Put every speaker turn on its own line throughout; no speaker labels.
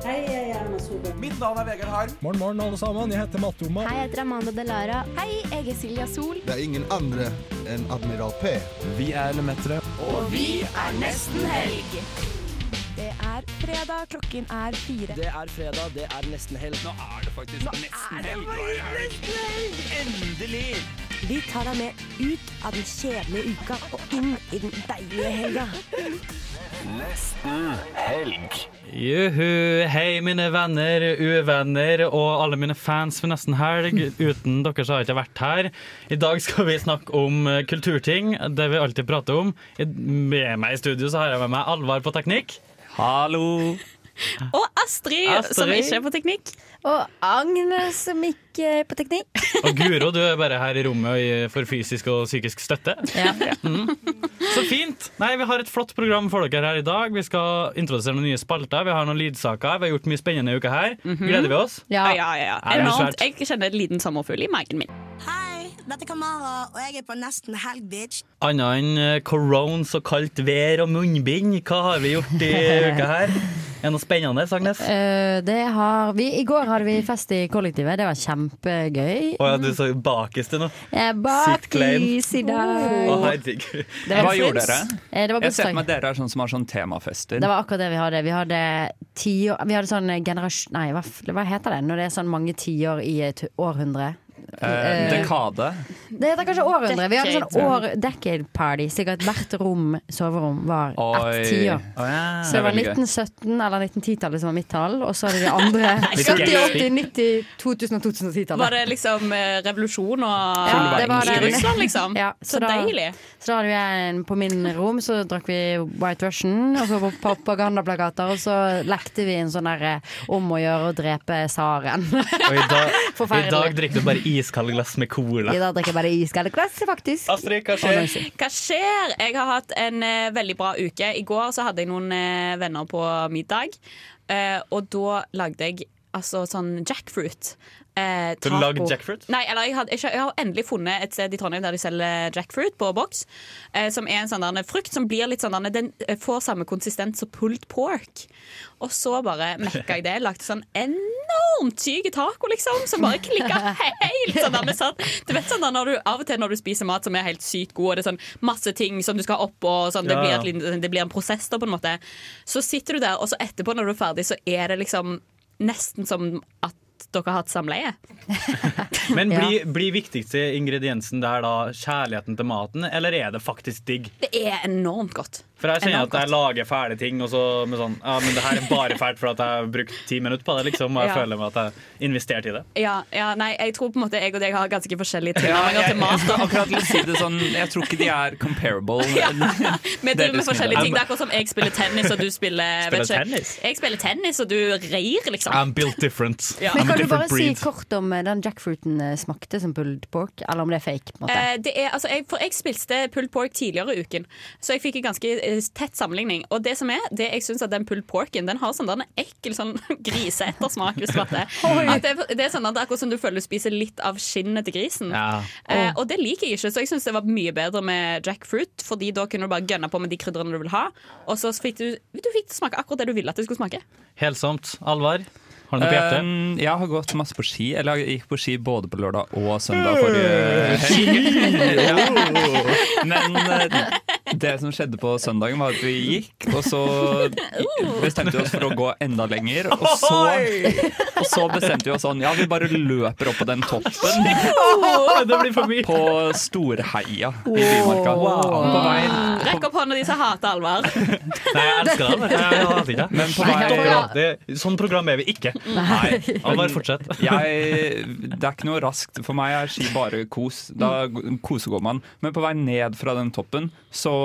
Hei, jeg er Erna Solberg.
Mitt navn er Vegard Harm.
Morgen, morgen, alle sammen. Jeg heter Matte Oma.
Hei, jeg heter Amanda Delara. Hei, jeg er Silja Sol.
Det er ingen andre enn Admiral P.
Vi er Lemetere.
Det er fredag, klokken er fire.
Det er fredag, det er nesten helg. Nå er det faktisk nesten helg. Endelig!
Vi tar deg med ut av den kjedelige uka og inn i den deilige helga.
Juhu, hei mine venner, uvenner og alle mine fans for nesten helg. Uten dere så har jeg ikke vært her. I dag skal vi snakke om eh, kulturting, det vi alltid prater om. I- Med meg i studio så har jeg med meg Alvar på teknikk.
Hallo!
Og Astrid,
Astrid.
som ikke er på teknikk.
Og Agnes, som ikke er eh, på teknikk.
Og Guro, du er bare her i rommet og i- for fysisk og psykisk støtte. Mm. Så fint! Nei, Vi har et flott program for dere her i dag. Vi skal introdusere noen nye spalter. Vi har noen lydsaker. Vi har gjort mye spennende i uka her. Gleder vi oss?
Ja, ja,
Ja,
ja.
det er
Enormt.
svært.
Jeg kjenner en liten sommerfugl i magen min.
Hei, dette er Kamara, og jeg er på Nesten Helg, bitch.
Annet enn eh, corones og kaldt vær og munnbind, hva har vi gjort i uka her? Er det noe spennende, Agnes? Å
eh, det har vi, I går hadde vi fest i kollektivet. Det var kjempegøy.
ja, du så bakis til nå.
Jeg
Sykt kleint.
bakis i
Å,
dag.
herregud.
Det var
Hva gjorde
fest.
dere?
Eh, Det var
Jeg ser for
bursdag.
meg at dere er sånn som har sånn temafester.
Det var akkurat det vi hadde. Vi hadde, tiår, vi hadde sånn generasjon... Nei, hva, f- hva heter det når det er sånn mange tiår i et århundre?
Eh, dekade.
Det heter kanskje århundre. Vi hadde
Decade.
sånn år, decade party. Sikkert hvert rom, soverom, var
Oi.
ett tiår.
Å ja.
Så det var
veldig gøy.
1917 eller 1910-tallet som var mitt tall, og så hadde de andre 70, 80, 90, 2000 og 2010-tallet.
Var det liksom eh, revolusjon og
Ja, det
i
var det.
Russland, liksom?
Ja,
så,
så da-
deilig.
Så da hadde vi en på min rom, så drakk vi White Russian og så på propagandaplakater, og så lekte vi en sånn der eh, om å gjøre å drepe tsaren.
Og i dag, i
Forferdelig.
dag drikker du bare iskalde glass med cola.
I dag drikker jeg bare iskaldeklasse, faktisk.
Astrid, hva skjer?
Hva skjer? Jeg har hatt en eh, veldig bra uke. I går så hadde jeg noen eh, venner på middag, eh, og da lagde jeg altså sånn jackfruit. Eh,
Du
taco.
lagde jackfruit?
Nei, eller jeg, hadde, ikke, jeg har endelig funnet et sted i Trondheim der de selger jackfruit på boks. Eh, som er en sånn der frukt som blir litt sånn der, Den eh, får samme konsistens som pulled pork. Og så bare mekka jeg det. Lagde sånn enormt syk taco, liksom. Som bare klikka helt sånn der med satt. Du vet sånn der når du, av og til når du spiser mat som er helt sykt god, og det er sånn masse ting som du skal ha opp, og sånn, det,
Ja,
blir
ja.
et, liten- det blir en prosess da, på en måte. Så sitter du der, og så etterpå når du er ferdig, så er det liksom nesten som at dere har hatt samleie.
Men
Ja.
blir blir viktigste ingrediensen der da kjærligheten til maten, eller er det faktisk digg?
Det er enormt godt.
For jeg kjenner
Enormt
at jeg lager fæle ting, og så med sånn Ja, men det her er bare fælt for at jeg har brukt ti minutter på det, liksom, og jeg
Ja.
føler meg at jeg investerte i det.
Ja, ja, nei, jeg tror på en måte jeg og deg har ganske forskjellige tilnærminger til mat.
skal akkurat litt si det sånn Jeg tror ikke de er comparable. Eh,
Vi
det er
driver med
det som er
forskjellige
det.
ting. Det er akkurat som jeg spiller tennis, og du spiller,
Spiller
vet ikke.
tennis? Um,
Jeg spiller tennis, og du rir, liksom.
I'm built different.
Ja.
I'm
Men
a
kan du bare
different
si
breed.
kort om eh, den jackfruiten eh, smakte som pulled pork, eller om det er fake? på en måte?
Eh, det er, altså, jeg, for jeg spilte pulled pork tidligere i uken, så jeg fikk en ganske eh, tett sammenligning. Og det som er, det jeg syns at den pulled porken Den har sånn der en ekkel sånn griseettersmak, hvis du vet det. At det, er- det er sånn at det er akkurat som du føler du spiser litt av skinnet til grisen.
Ja.
Eh, og det liker jeg ikke, så jeg syns det var mye bedre med jackfruit. Fordi da kunne du bare gønne på med de krydderne du vil ha, og så fikk du, du fikk smake akkurat det du ville at det skulle smake.
Helsomt. Alvar, har du noe på hjertet?
Um, jeg har gått masse på ski. Eller jeg gikk på ski både på lørdag og
Mm.
søndag forrige helg. Ja. Men eh, det som skjedde på søndagen, var at vi gikk, og så
Uh.
bestemte vi oss for å gå enda lenger. Og så, og så bestemte vi oss sånn Ja, vi bare løper opp på den toppen
Åh, det blir for mye.
på Storheia i Bymarka. På veien
Rekk opp hånda de som hater Alvar.
Nei, jeg elsker det. men Jeg hater ikke det.
Men på vei-
Stopp, ja. det. Sånn program er vi ikke. Nei. Bare fortsett.
jeg, det er ikke noe raskt. For meg er ski bare kos. Da g- kosegår man. Men på vei ned fra den toppen så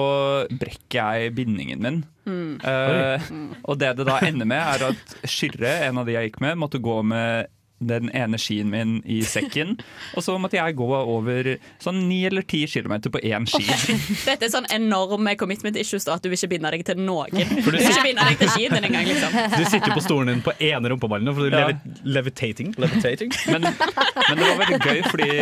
brekker jeg bindingen min. Eh, og det det da ender med, er at Skyrre, en av de jeg gikk med, måtte gå med den ene skien min i sekken. Og så måtte jeg gå over sånn ni eller ti kilometer på én ski.
Dette er sånn enorme commitment issues da, at du vil ikke binde deg til noen. Du vil ikke binde deg til skien din engang, liksom.
Du sitter jo på stolen din på ene rumpeballen nå, for du
Ja.
levi levitating.
Levitating.
Men, men det var veldig gøy, fordi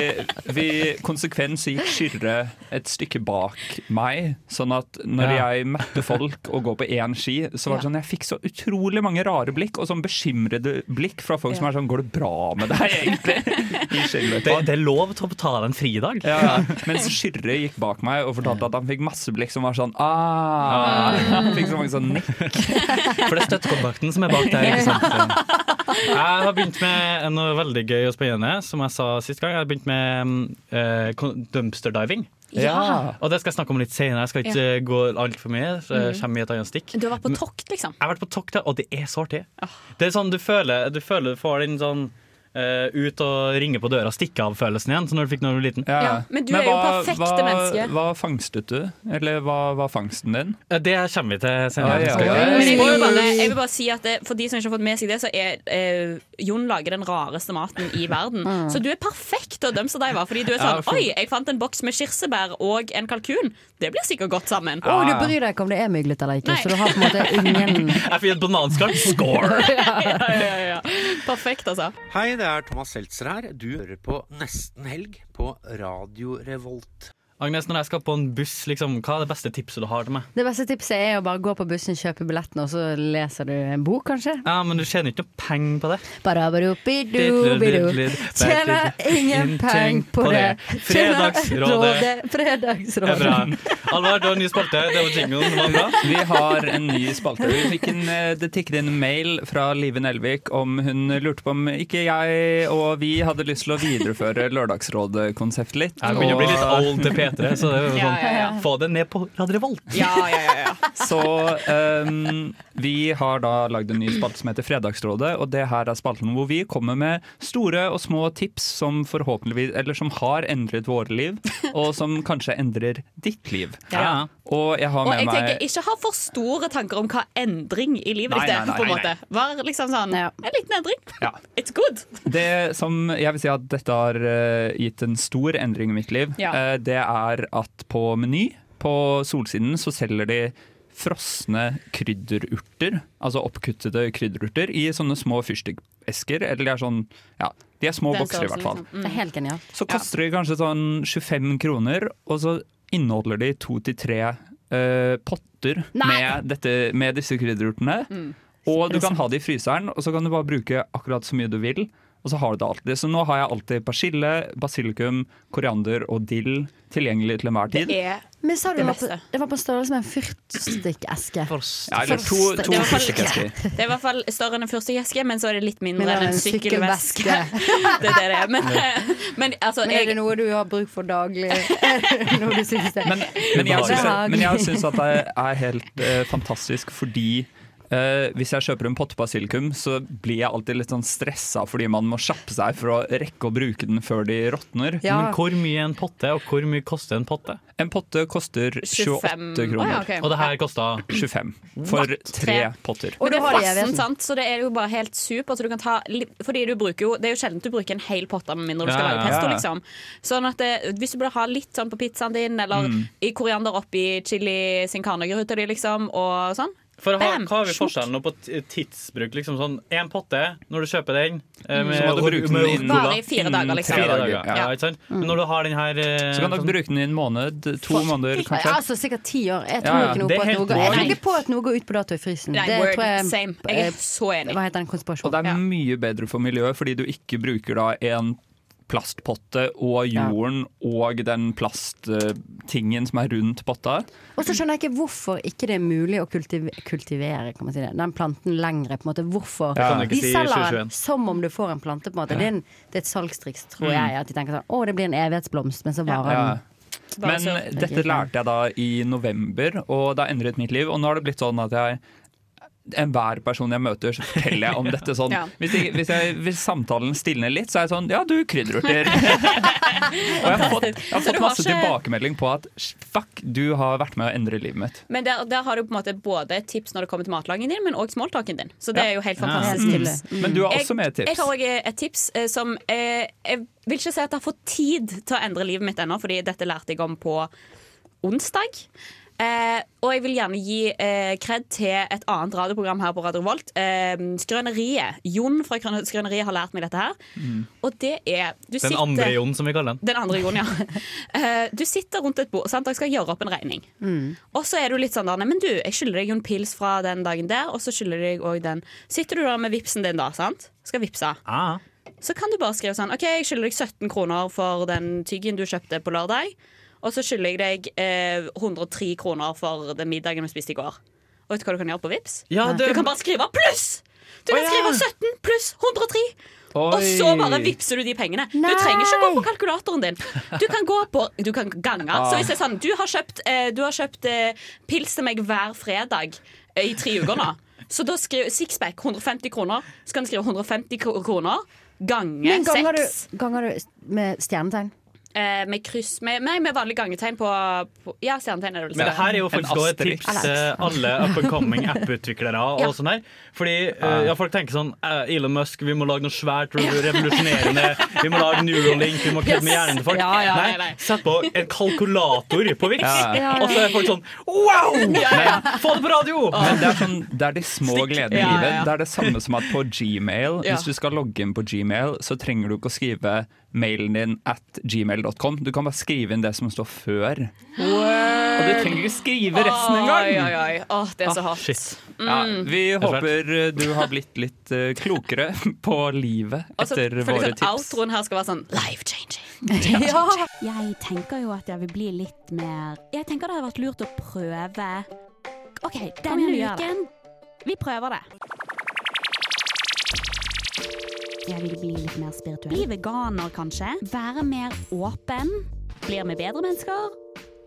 vi konsekvent så gikk Kyrre et stykke bak meg. Sånn at når
Ja.
jeg møtte folk og går på én ski, så var det sånn jeg fikk så utrolig mange rare blikk, og sånn bekymrede blikk fra folk som er sånn Går det bra med deg, egentlig? I
Det,
skiløypa.
det er lov til å ta deg en fridag.
Ja, ja. Mens Kyrre gikk bak meg og fortalte at han fikk masse blikk som var sånn ah. Han fikk så mange sånn nikk.
For det er støttekontakten som er bak der. Ikke sant? Jeg har begynt med noe veldig gøy og spennende, som jeg sa sist gang. Jeg har begynt med eh, kon- dumpster diving.
Ja.
Og det skal jeg snakke om litt senere. Jeg skal ikke eh, gå altfor mye. så Det kommer i et annet stikk.
Du har vært på tokt, liksom.
Jeg har vært på tokt, og det er så artig. Det er sånn, du føler du føler du får den sånn eh, ut og ringe på døra, stikke av-følelsen igjen, som når du fikk når du var liten.
Ja, men du er jo perfekte
hva,
menneske.
Hva fangstet du? Eller hva var fangsten din?
Eh, Det kommer vi til senere.
Ah, ja, ja.
Men jeg vil, bare, jeg vil bare si at det, For de som ikke har fått med seg det, så er eh, Jon lager den rareste maten i verden. Så du er perfekt til å dumpsterdive, fordi du er
Ja,
sånn
for-
Oi, jeg fant en boks med kirsebær og en kalkun. Det blir sikkert godt sammen.
Å,
ah.
du bryr deg ikke om det er myglet eller ikke,
Nei.
så du har på en måte ingen
Jeg fikk et bananskall. Score!
ja, ja, ja. Perfekt, altså.
Hei, det er Thomas Seltzer her. Du hører på Nesten Helg på Radio Revolt.
Agnes, når jeg skal på en buss, liksom, hva er det beste tipset du har til meg?
Det beste tipset er å bare gå på bussen, kjøpe billetten, og så leser du en bok, kanskje.
Ja, men du tjener ikke noe penger på det.
Barabarubidubidu. Tjener ingen penger på det. Tjener-
Fredagsrådet.
Rådet-
Det er
Fredagsrådet.
bra. Alvar, du har en ny spalte. Det var jinglen. Det var bra.
Vi har en ny spalte. Vi fikk en, eh, det tikket inn en mail fra Live Nelvik om hun lurte på om ikke jeg og vi hadde lyst til å videreføre Lørdagsrådet-konseptet litt.
Jeg begynner å bli litt
Og-
old til P3, så det er jo
Ja, ja, ja.
sånn, få det ned på Radio Revolt.
Ja, ja, ja, ja.
Så ehm, vi har da lagd en ny spalte som heter Fredagsrådet. Og det her er spalten hvor vi kommer med store og små tips som forhåpentligvis Eller som har endret våre liv, og som kanskje endrer ditt liv.
Ja.
Og jeg har
Og
med
jeg
meg
tenker, ikke ha for store tanker om hva endring i livet
Nei,
ditt er.
nei, nei,
på en
nei.
måte. Vær liksom sånn
Ja.
En liten endring.
Ja.
It's good.
Det som jeg vil si at dette har eh, gitt en stor endring i mitt liv,
Ja.
eh, det er at på Meny på Solsiden så selger de frosne krydderurter, altså oppkuttede krydderurter, i sånne små fyrstikkesker. Eller de er sånn Ja, de er små
Den
bokser, i hvert fall.
størrelsen, liksom.
Det er helt genialt.
Så koster de kanskje sånn 25 kroner, og så inneholder de to til tre eh, potter med, dette, med disse krydderurtene. Og du kan ha det i fryseren, og så kan du bare bruke akkurat så mye du vil. Og så har du det alltid. Så nå har jeg alltid persille, basilikum, koriander og dill tilgjengelig til enhver tid.
Det er
Men sa
Det
du det var på,
beste.
det var på størrelse med en fyrstikkeske?
Ja, eller to,
Det
to
var faktisk-
fyrstikkesker.
Det er i hvert fall større enn en fyrstikkeske, men så er det litt mindre
Mindre
enn en sykkelveske. det er det det er. Men, men altså,
Men er det
jeg,
noe du har bruk for daglig? Er det noe du synes det?
Men, men jeg syns
Ubehagelig.
men jeg syns at det er helt eh, fantastisk fordi eh, hvis jeg kjøper en potte basilikum, så blir jeg alltid litt sånn stressa fordi man må kjappe seg for å rekke å bruke den før de råtner.
Ja.
Men hvor mye er en potte, og hvor mye koster en potte?
En potte koster 28
Å,
kroner.
ja, ok.
Og det her kosta
25 for tre
Tre.
potter.
Og
Men det
da
er
har de
fasten,
evigheten.
sant? så det er jo bare helt super. Så du kan ta, li- fordi du bruker jo, det er jo sjelden du bruker en hel potte med mindre du skal
Ja,
lage
ja,
pesto.
ja.
Liksom. Sånn at det, Hvis du burde ha litt sånn på pizzaen din, eller i koriander oppi chili sin carne-gryta di, liksom, og sånn.
For ha,
Bam!
Hva har vi
Smokk.
forskjellen nå på t- tidsbruk? Liksom sånn, En potte, når du kjøper den eh, med,
Så må du bruke den innen
cola.
Bare i fire dager, liksom.
Fire
Tre
dager,
dager.
ja.
Ja.
ikke sant? Men når du har den her eh,
Så kan dere
sånn-
bruke den i en måned, to måneder kanskje.
Altså sikkert ti år. Jeg tror
Ja, ja.
ikke noe
Det er
på at
helt
noe går- Jeg tror
lovlig.
ikke på at noe går ut på dato i frysen.
Nei,
det
word,
tror jeg eh,
same. Jeg er så enig.
Hva heter den konspirasjonen?
Og det er
Ja.
mye bedre for miljøet fordi du ikke bruker da en plastpotte og jorden og den plasttingen som er rundt potta.
Og så skjønner jeg ikke hvorfor ikke det er mulig å kultiv kultivere kan man si det, den planten lengre. på en måte. Hvorfor?
Ja. Kan
du ikke
De
si
selger den
2021.
som om du får en plante. på en måte. Det, er en, det er et salgstriks, tror jeg. At de tenker sånn, å, det blir en evighetsblomst, men så varer
Ja.
den
Bare
Men
så-
dette lærte jeg da i november, og det har endret mitt liv. Og nå har det blitt sånn at jeg enhver person jeg møter, så forteller jeg om dette sånn.
Ja.
Hvis, jeg, hvis, jeg, hvis samtalen stilner litt, så er jeg sånn Ja, du krydderurter. og jeg har fått, jeg har
Så du har
fått masse
ikke-
tilbakemelding på at fuck, du har vært med å endre livet mitt.
Men der, der har du på en måte både et tips når det kommer til matlagingen din, men òg smalltalken din. Så det
Ja.
er jo helt
Ja.
fantastisk tips.
Men du har også
Jeg-
med et
Jeg
tips.
har også et tips eh, som eh, Jeg vil ikke si at jeg har fått tid til å endre livet mitt ennå, fordi dette lærte jeg om på onsdag. Eh, og jeg vil gjerne gi eh, kred til et annet radioprogram her på Radio Volt. Eh, Skrøneriet. Jon fra Krøn- Skrøneriet har lært meg dette her.
Mm.
Og det er du
Den
sitter-
andre Jon, som vi kaller den.
den andre Jon, ja. Eh, Du sitter rundt et bord sant? og skal gjøre opp en regning.
Mm.
Og så er du litt sånn der, «Nei, men du, jeg skylder deg jo en pils fra den dagen der, og så skylder jeg deg også den. Sitter du da med vipsen din da, sant? Skal vipse.
Ah.
Så kan du bare skrive sånn, ok, jeg skylder deg 17 kroner for den tyggen du kjøpte på lørdag, og så skylder jeg deg eh, 103 kroner for den middagen vi spiste i går. Og vet du hva du kan gjøre på vips?
Ja,
Du
det,
kan bare skrive pluss! Du
Å,
kan
ja.
skrive 17 pluss 103 og
Oi.
så bare vipser du de pengene.
Nei.
Du trenger ikke gå på kalkulatoren din. Du kan gå på Du kan gange.
Ah.
Så hvis det er sånn Du har kjøpt, eh, du har kjøpt eh, pils til meg hver fredag eh, i tre uker nå. Så da skriver Sixpack 150 kroner. Så kan du skrive 150 kro- kroner gange
Men ganger du,
seks.
ganger du med stjernetegn?
Eh, med kryss med, Nei, med vanlig gangetegn på, på Ja, stjernetegn er det
men
vel.
det her er jo
En
faktisk også et
asterix.
tips til alle up and coming app-utviklere.
Ja.
og sånn her. Fordi eh, ja, Folk tenker sånn eh, Elon Musk, vi må lage noe svært re- revolusjonerende. Vi må lage Neuralink, vi må kødde med hjernen til folk.
Ja, ja, nei,
nei,
nei.
Sett på en kalkulator på Vix,
Ja,
ja.
og så er folk sånn Wow! Få det på radio!
Men det er, sånn, det er de små gledene i
Ja, ja,
livet.
ja.
Det er det samme som at på Gmail,
Ja.
hvis du skal logge inn på Gmail, så trenger du ikke å skrive mailen din at gmail.com. Du kan bare skrive inn det som står før. Og du trenger ikke skrive resten engang!
Oi, oi, oi. Åh, det er så hardt.
Shit.
mm.
Ja, vi håper eh, du har blitt litt eh, klokere på livet
Og så
etter
føler
våre
jeg sånn
tips.
outroen her skal være sånn life changing.
Jeg tenker jo at jeg vil bli litt mer Jeg tenker det hadde vært lurt å prøve OK,
igjen,
denne
vi gjør det.
uken Vi prøver det. Jeg vil bli litt mer spirituell. Bli veganer, kanskje. Være mer åpen. Blir vi bedre mennesker?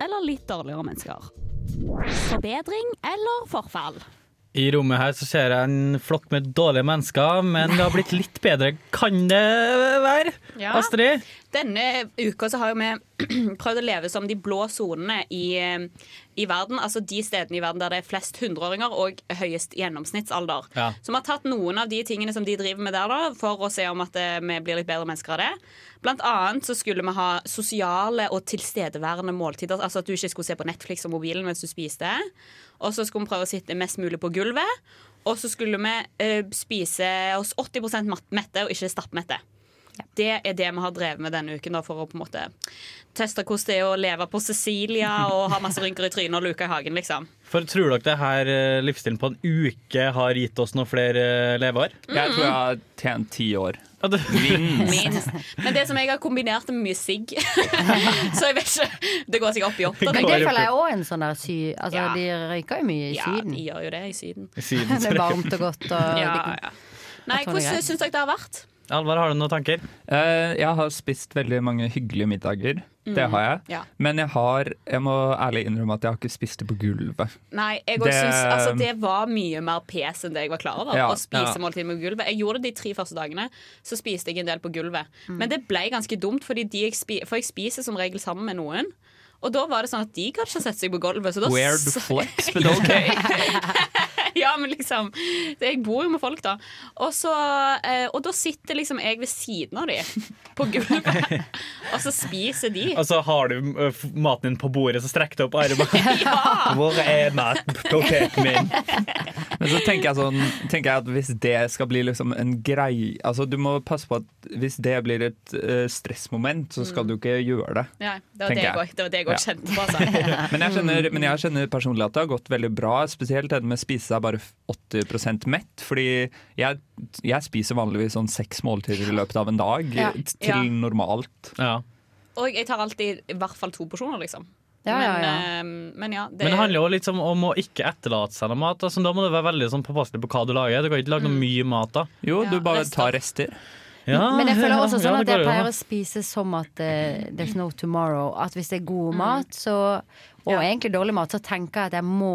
Eller litt dårligere mennesker? Forbedring eller forfall?
I rommet her så ser jeg en flokk med dårlige mennesker, men det har blitt litt bedre. Kan det være?
Ja.
Astrid?
Denne uka så har jo vi prøvd å leve som de blå sonene i, i verden. Altså de stedene i verden der det er flest hundreåringer og høyest gjennomsnittsalder.
Ja.
Så vi har tatt noen av de tingene som de driver med der, da, for å se om at eh, vi blir litt bedre mennesker av det. Blant annet så skulle vi ha sosiale og tilstedeværende måltider. Altså at du ikke skulle se på Netflix og mobilen mens du spiste. Og så skulle vi prøve å sitte mest mulig på gulvet. Og så skulle vi eh, spise oss 80 mat- mette og ikke stappmette. Det er det vi har drevet med denne uken da, for å på en måte teste hvordan det er å leve på Cecilia og ha masse rynker i trynet og luka i hagen, liksom.
For tror dere det her eh, livsstilen på en uke har gitt oss noen flere eh, leveår?
Mm.
Jeg tror jeg har tjent ti år.
Ja, det-
Minst. Men det som jeg har kombinert det med mye sigg, så jeg vet ikke Det går sikkert opp i åtte.
Det
Men
tenker
det
jeg.
føler jeg òg en sånn der sy... Altså,
Ja.
de røyker jo mye i
Ja,
Syden.
de gjør jo det i Syden.
Siden
Det er varmt og godt og
Ja,
de-
ja. Nei,
Jeg tror det er
hvordan
greit.
syns dere det har vært?
Alvar, har du noen tanker?
Eh, jeg har spist veldig mange hyggelige middager. Det har jeg.
Mm. Ja.
Men jeg har, jeg må ærlig innrømme at jeg har ikke spist det på gulvet.
Nei, jeg
Det-
det... Synes, altså, det var mye mer pes enn det jeg var klar over.
Ja,
å spise
ja.
måltid med gulvet Jeg gjorde det de tre første dagene, så spiste jeg en del på gulvet. Men det ble ganske dumt, fordi de jeg spi for jeg spiser som regel sammen med noen. Og da var det sånn at de gadd ikke sette seg på gulvet. Så da
Weird
s-
flex, liksom. but okay.
ja, men liksom det- Jeg bor jo med folk, da. Og, så, eh, og da sitter liksom jeg ved siden av de på gulvet, og så spiser de.
Altså, Har du eh, f- maten din på bordet, så strekk deg opp armene.
Ja!
Hvor er matpoteten min?
Men så tenker jeg, sånn, tenker jeg at hvis det skal bli liksom en greie Altså Du må passe på at hvis det blir et eh, stressmoment, så
Mm.
skal du ikke gjøre det.
Ja, det var det
Tenker
jeg
jeg.
òg- det var det jeg
Ja.
òg kjente på. Altså.
Men jeg skjønner, men jeg skjønner personlig at det har gått veldig bra, spesielt det med å spise seg bare 80 mett. Fordi jeg, jeg spiser vanligvis sånn seks måltider i løpet av en dag
Ja.
Ja.
til normalt.
Ja.
Og jeg tar alltid i hvert fall to porsjoner, liksom.
Ja, ja, ja.
Men, eh, men ja, det,
Men det handler jo litt om, om å ikke etterlate seg noe mat. Altså, da må du være veldig sånn, påpasselig på hva du lager. Du kan ikke
Mm.
lage noe mye mat da.
Jo,
Ja,
du bare
rester.
tar rester.
Ja,
Men jeg føler
ja,
også
ja,
sånn
det
at jeg
går jo
pleier
an.
å spise som at eh, there's no tomorrow. At hvis det er god mat, så,
Mm.
og
Ja.
egentlig dårlig mat, så tenker jeg at jeg må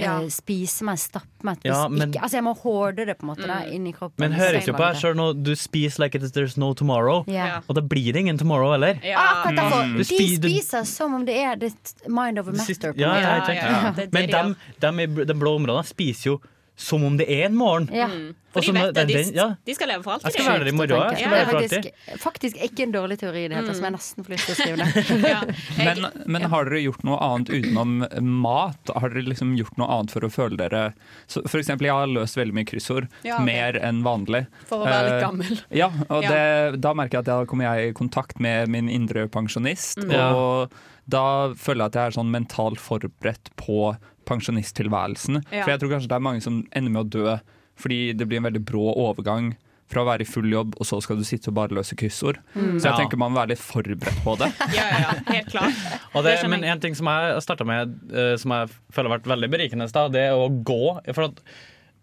ja. spise meg, stappe meg.
Ja,
Hvis
men-
ikke, altså jeg må hoarde det på en måte da,
Mm.
inni kroppen.
Men høres jo på her
Stein-
selv nå Du spiser like it's there's no tomorrow.
Ja.
Og da blir det ingen tomorrow heller.
Akkurat derfor.
Mm.
De
Du spi- du-
spiser som om det er ditt mind over
Det
matter.
siste-
på en
Ja,
måte.
ja, helt
Ja,
riktig.
ja, ja. Det er
Men
det de
dem, dem i bl- de blå områdene spiser jo som om det er en morgen.
Ja.
For de
Også når-
vet det. De,
den- ja.
de skal leve for alltid.
Jeg skal være der i morgen. Jeg skal
Ja,
være
det
der
er
for alltid.
faktisk, faktisk ikke en dårlig teori i det hele tatt, som jeg nesten får lyst til å skrive ned.
Men, men har dere gjort noe annet utenom mat? Har dere liksom gjort noe annet for å føle dere så For eksempel, jeg har løst veldig mye kryssord.
Ja, ok.
Mer enn vanlig.
For å være litt
Eh,
gammel.
Ja, og
Ja.
det, da merker jeg at da kommer jeg i kontakt med min indre pensjonist.
Mm.
Ja.
Og da føler jeg at jeg er sånn mentalt forberedt på pensjonisttilværelsen.
Ja.
For jeg tror kanskje det er mange som ender med å dø fordi det blir en veldig brå overgang. Fra å være i full jobb, og så skal du sitte og bare løse kryssord.
Mm.
Så jeg
Ja.
tenker man må være litt forberedt på det.
Ja, ja, ja. Helt klart.
Og det,
Det skjønner
men
jeg.
en ting som jeg starta med, eh, som jeg føler har vært veldig berikende, da, det er å gå. For at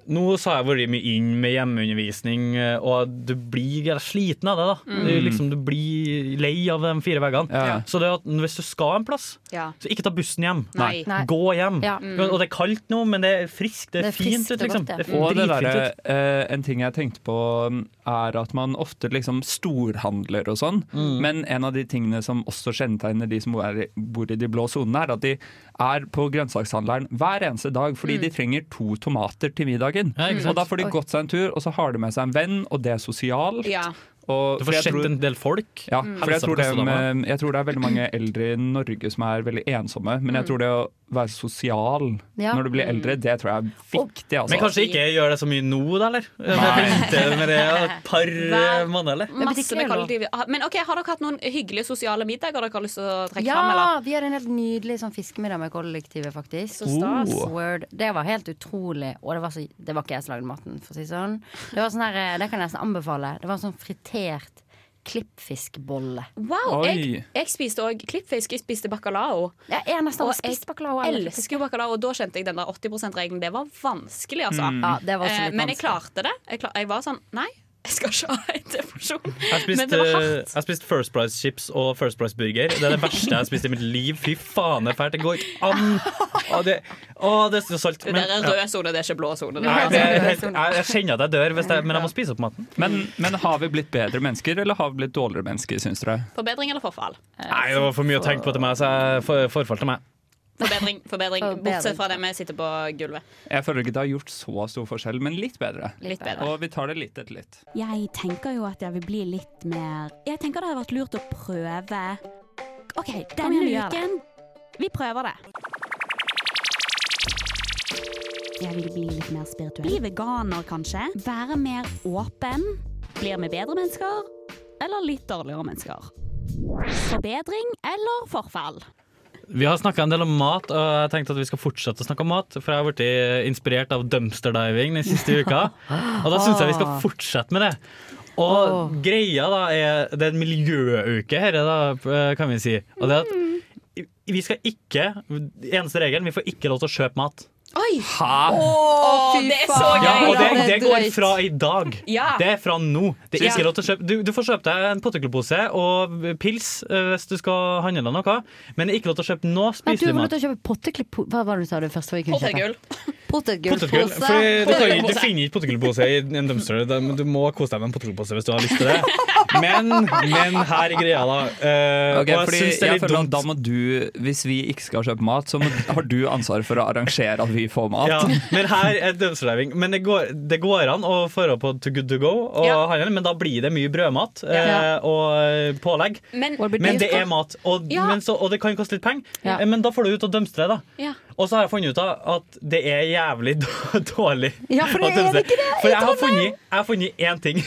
nå så har jeg vært mye inn med hjemmeundervisning, eh, og du blir jævla sliten av det.
Mm.
da du, liksom, du blir lei av de fire veggene.
Ja.
Så det at hvis du skal en plass,
Ja.
så ikke ta bussen hjem.
Nei.
Nei.
Gå hjem.
Ja.
Og det er kaldt nå, men det er friskt, det er,
Det er
fint
friskt
ut,
og
liksom.
godt, ja.
Det er
Og det
dritfint
derre,
ut.
eh, en ting jeg tenkte på, mm, er at man ofte liksom storhandler og sånn. Men en av de tingene som også kjennetegner de som er, i- bor i de blå sonene, er at de er på grønnsakshandleren hver eneste dag fordi de trenger to tomater til middagen.
Ja, ikke sant?
og da får de gått seg en tur, og så har de med seg en venn, og det er sosialt.
Ja.
Og,
Du
for
får
jeg
sett
tror-
en del folk.
Mm.
ja, for jeg
Helse på
tror, det,
kastedama.
med- jeg tror det er veldig mange eldre i Norge som er veldig ensomme, men jeg tror det å være sosial
Ja.
når du blir eldre, det tror jeg er viktig. Altså.
Men kanskje ikke gjør det så mye nå, da, eller? Vente med det et par eh, måneder, eller?
Masse med
ikke lov.
kollektiv. Ah, Men ok, Har dere hatt noen hyggelige sosiale middager dere har lyst til å trekke fram? Eller?
Ja, vi hadde en helt nydelig sånn fiskemiddag med kollektivet, faktisk.
stas. Oh.
Word. Det var helt utrolig. Og det var, så, det var ikke jeg som lagde maten, for å si det sånn. Det var sånn her, eh, det kan jeg nesten anbefale. Det var en sånn fritert klippfiskbolle.
Wow, jeg,
Oi.
jeg spiste òg klippfisk. Jeg spiste bacalao.
Ja, jeg har nesten
Og
aldri spist baklava.
jeg
eller
elsker jo bacalao, og da kjente jeg den der 80%-regelen. Det var vanskelig, altså.
Mm.
Ja, det var også
Eh,
litt
Men jeg
vanskelig.
klarte det. Jeg, klar, jeg var sånn Nei, jeg skal ikke ha en depresjon.
Jeg spiste,
Men det var hardt.
jeg spiste First Price chips og First Price burger. Det er det verste jeg har spist i mitt liv. Fy faen, det er fælt. Det går ikke an. Å, det, å, det er så salt.
Det
Men-
der er rød sone, det er ikke blå sone.
Nei, det er helt, jeg, jeg kjenner at jeg dør, hvis jeg, men jeg må spise opp maten.
Men, men har vi blitt bedre mennesker, eller har vi blitt dårligere mennesker, syns dere?
Forbedring eller forfall?
Nei, det var for mye å tenke på til meg, så jeg for, forfall til meg.
Forbedring, forbedring.
Forbedring.
Bortsett fra det vi sitter på gulvet.
Jeg føler ikke det har gjort så stor forskjell, men litt bedre.
Litt bedre.
Og vi tar det litt etter litt.
Jeg tenker jo at jeg vil bli litt mer Jeg tenker det hadde vært lurt å prøve. OK, denne
igjen, vi gjør det.
uken Vi prøver det. Jeg vil bli litt mer spirituell. Bli veganer, kanskje. Være mer åpen. Blir vi bedre mennesker? Eller litt dårligere mennesker? Forbedring eller forfall?
Vi har snakka en del om mat, og jeg tenkte at vi skal fortsette å snakke om mat. For jeg har blitt inspirert av dumpster diving den siste uka. Og da syns jeg vi skal fortsette med det. Og greia da er Det er en miljøuke her, da, eh, kan vi si. Og det er at
Mm.
vi skal ikke Eneste regelen, vi får ikke lov til å kjøpe mat.
Oi!
Ha!
Åh, det er så
Ja,
gøy!
og det,
Ja, det
det
er
går
drøyt.
fra i dag.
Ja.
Det er fra nå. Det er ikke lov til å kjøpe du, du får kjøpe deg en potetgullpose og pils eh, hvis du skal handle deg noe, men det er ikke lov til å kjøpe noe
Nei, du
spiselig
var nødt
mat.
til å kjøpe potteklipp... Hva var det du sa du først? var vi kunne kjøpe?
Potetgull.
Potetgull.
Potetgullpose.
Fordi du, kan, jo- du finner ikke potetgullpose i en dumpster. Du- Du må kose deg med en potetgullpose hvis du har lyst til det. Men, men her er greia, da. Eh,
Ok,
og jeg
fordi
syns det er
jeg
litt
føler at
dumt.
da må du, Hvis vi ikke skal kjøpe mat, så må, har du ansvaret for å arrangere at vi får mat.
Ja, men her er dumpsterdiving. Men det går, det går an å føre på to good to go, og
Ja.
handle, men da blir det mye brødmat eh,
Ja.
og pålegg.
Men
Hvor blir
Men
dyrt,
det er mat, og,
Ja.
men så, og det kan koste litt penger.
Ja.
Eh, Men da får du ut og dømstre, da.
Ja.
Og så har jeg funnet ut av at det er jævlig d- dårlig.
Ja, for det
å
er
dømstre.
ikke det, jeg
For jeg har
trodde.
funnet, jeg har funnet én ting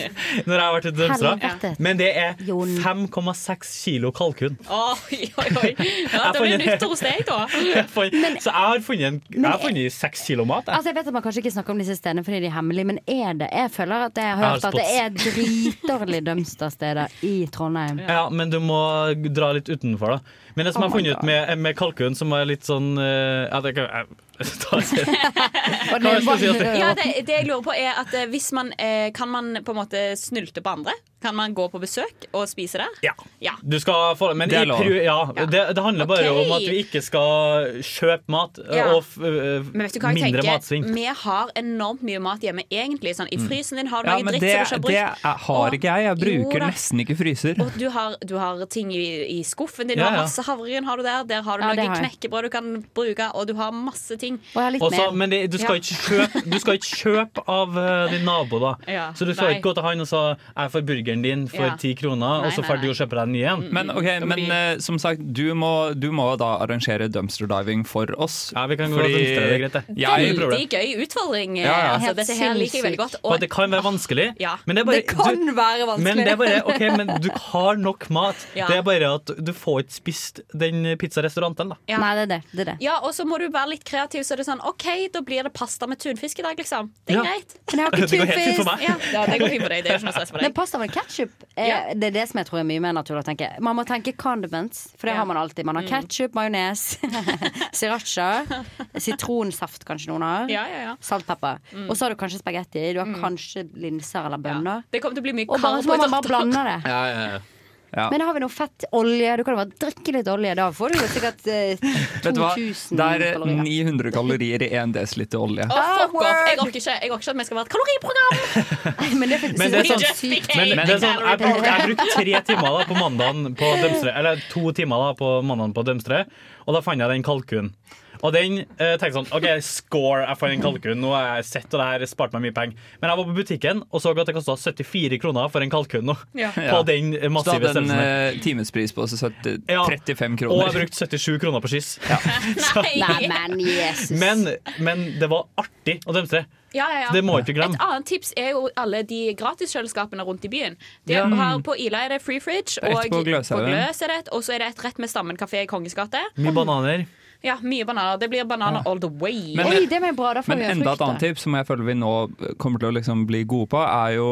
når jeg har vært ute og dømstra,
Helvete.
men det er
Jon.
5,6 kilo kalkun.
Oi, oi, oi. Ja,
Jeg
det blir
får-
nytt hos deg, da.
Jeg fant- så jeg har funnet, en, jeg har funnet 6 kilo mat. Jeg.
Altså Jeg vet at man kanskje ikke snakker om disse stedene fordi de er hemmelige, men er det? Jeg føler at jeg har
har
hørt at det er dritdårlige dumpstersteder i Trondheim.
Ja, men du må
Oh
dra litt utenfor, da. Men det som jeg har funnet ut med, med kalkun, som er litt sånn eh, at jeg, kan- jeg,
Og den
Hva skal jeg si at det-
vanlige-
Ja, det, det jeg lurer på er at eh, hvis man eh, Kan man på en måte snylte på andre? Kan man gå på besøk og spise der?
Ja.
Ja.
Du skal få, men
Det er
i
lov.
pru, ja,
Ja.
Det, det handler bare
Ok.
om at vi ikke skal kjøpe mat ø,
Ja.
og f, ø,
Men vet du hva jeg
mindre
tenker?
matsvinn. Mm.
Vi har enormt mye mat hjemme egentlig. Sånn, I frysen din har du
Ja,
noe
men
dritt
det,
som du
det
ikke har brukt.
er- har ikke jeg. Jeg
Jo
bruker
da.
nesten ikke fryser.
Og du har, du har ting i, i skuffen din, du
Ja,
har
ja.
masse havregryn har du der. Der har du
Ja, det
noe
har jeg.
knekkebrød du kan bruke, og du har masse ting.
Og jeg har litt
Også,
mer.
men det, du, skal
Ja.
ikke kjøpe, du skal ikke kjøpe av ø, din nabo, da.
Ja,
Så du skal
nei.
ikke gå til han og så jeg får burgeren din for
Ja.
ti kroner,
Nei,
og så
nei,
får du
nei. Mm,
jo kjøpe deg en ny en.
Men, ok, men
blir-
eh, som sagt, du må, du må da arrangere dumpster diving for oss.
Ja, vi kan gå
Fordi-
og dumpstre, det er greit, det.
Jeg-
Ingen problem.
Veldig gøy utfordring.
Ja, ja.
Altså,
Helt
dette her liker jeg veldig godt.
Og det kan være vanskelig,
Ja.
men det er bare
det kan
du,
være vanskelig.
men det er bare, ok, men du har nok mat.
Ja.
Det er bare at du får ikke spist den pizzarestauranten, da.
Ja.
Nei, det er det. det, er det.
ja, og så må du være litt kreativ, så er det sånn OK, da blir det pasta med tunfisk i dag, liksom. Det er
Ja.
greit.
Men jeg har ikke
Det går helt fint for
tunfisk.
meg.
Ja, ja, det går fint for deg. Det er ikke noe stress for
Men
deg.
pasta med ketsjup
Ja.
det er det som jeg tror er mye mer naturlig å tenke. Man må tenke condiments, for det
Ja. Mm.
har man alltid. Man har ketsjup, majones, sriracha, sitronsaft kanskje noen har.
Ja, ja, ja.
Saltpepper. Og så har du kanskje spagetti, du har kanskje linser eller
Ja.
bønner.
Det kommer til å bli mye
Og bare, så må man bare
karbohydrater.
blande det.
Ja, ja, ja.
Ja.
Men da har vi noe fett olje. Du kan jo bare drikke litt olje. Da får du jo sikkert eh,
Vet du hva?
2000
Det er eh,
kalorier.
900 kalorier i 1 dl olje.
Å, fuck
Awkward.
off! Jeg orker ikke Jeg orker ikke at vi skal være et kaloriprogram!
Men det er
Men det er
faktisk det er
sånn-
sånn sykt.
Men,
Hey,
men det er sånn, jeg,
calorie
brukte, jeg brukte tre timer da på mandagen på Dømstre, eller to timer da på mandagen på Dømstre, og da fant jeg den kalkunen. Og den eh, tenkte sånn OK, score, jeg fant en kalkun. Nå har jeg sett, og det her sparte meg mye penger. Men jeg var på butikken og så at det kosta 74 kroner for en kalkun nå.
Ja.
På den
Så da
massive
hadde en
størrelsen. her.
eh, timespris på 70,
Ja. Og jeg
35 kroner.
brukte 77 kroner på skyss.
Nei, men Jesus.
Men, men det var artig å dømstre.
Ja, ja, ja.
Det må ikke glemme.
Et annet tips er jo alle de gratiskjøleskapene rundt i byen. Det
Ja.
har På Ila er det Free Fridge,
er
og
ett på Gløshaugen.
på Gløs er det et, og så er det et rett med Stammen kafé i Kongens gate.
Mye bananer.
Ja, mye bananer. Det blir bananer all the way.
Men-
Oi, det var jo bra. Da får
Men
vi jo
enda et
frukt, da.
annet tips som jeg føler vi nå kommer til å liksom bli gode på, er jo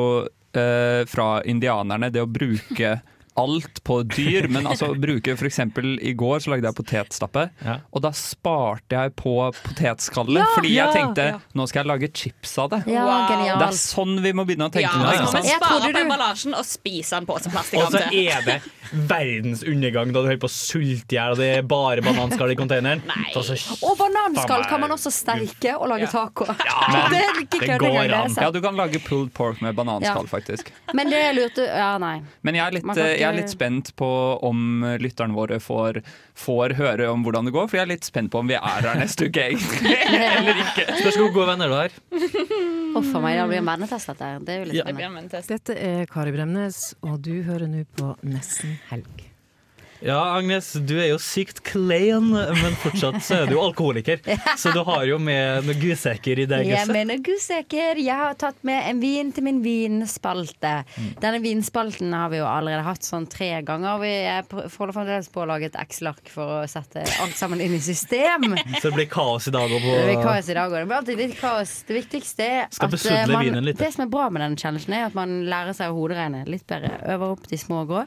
eh, fra indianerne det å bruke alt på dyr. Men altså å bruke for eksempel i går så lagde jeg potetstappe,
Ja.
og da sparte jeg på potetskallet. fordi
ja,
jeg tenkte
ja.
nå skal jeg lage chips av det.
Ja,
Wow.
Det er
genialt.
sånn vi må begynne å tenke
ja,
nå.
så
ikke
må
sant?
vi
Jeg
spare
trodde
på
du-
emballasjen og spise den på som plast i
altså. Og så
gante.
er det verdens undergang da du holder på å sulte i hjel, og det er bare bananskall i containeren.
Nei.
Så altså,
Og
Faen
bananskall
meg.
kan man også steike og
Ja.
lage taco.
men
det er ikke
det
kødd
går
engang. Det
an.
er
Ja,
sant.
du kan lage pulled pork med bananskall, faktisk.
Men det jeg lurte Ja, nei.
Men jeg er litt, eh,
Man kan
jeg er
ikke-
litt spent på om eh, lytterne våre får, får høre om hvordan det går, for jeg er litt spent på om vi er her neste uke, egentlig. Eller ikke.
Spørs hvor gode venner du har.
Huff a meg, det blir en vernetest, dette. her. Det er jo litt
Ja.
Det blir
spennende.
en menntest.
Dette er Kari Bremnes, og du hører nå på Nesten helg.
Ja, Agnes, du er jo sykt klein, men fortsatt så er du jo alkoholiker. Så du har jo med noen gusekker i deg.
Jeg
Agnes.
mener gudsekker. Jeg har tatt med en vin til min vinspalte.
Mm.
Denne vinspalten har vi jo allerede hatt sånn tre ganger. og Vi er pr- holder fremdeles på å lage et Excel-ark for å sette alt sammen inn i system.
Så det blir kaos i dag òg
Det blir
på
kaos i dag òg. Det blir alltid litt kaos. Det viktigste er
Skal
at
besudle
eh, man,
vinen litt.
det som er bra med den challengen, er at man lærer seg å hoderegne litt bedre. Øver opp de små og grå.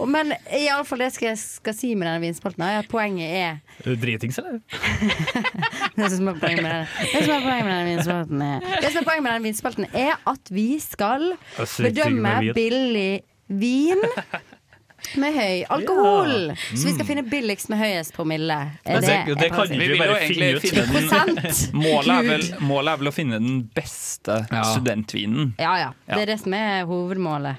Og- Men i alle fall det skal jeg skal si med denne vinspalten, er at poenget er
Er du Dritings, eller?
Det som er poenget med den, det som er poenget med den vinspalten, er, det som er, poenget med den vinspalten er at vi skal
Jeg er sykt digg
bedømme
med vin.
billig vin. Med høy alkohol! Så vi skal finne billigst med høyest promille. Er
Mm. Men det,
jeg
det kan
prøver å
vi
si.
Vi vil
jo
jo
bare finne
egentlig
ut.
finne den
Prosent!
Målet er, vel, målet er vel å finne den beste
Ja.
studentvinen.
Ja, ja.
Ja.
Det er det som er hovedmålet.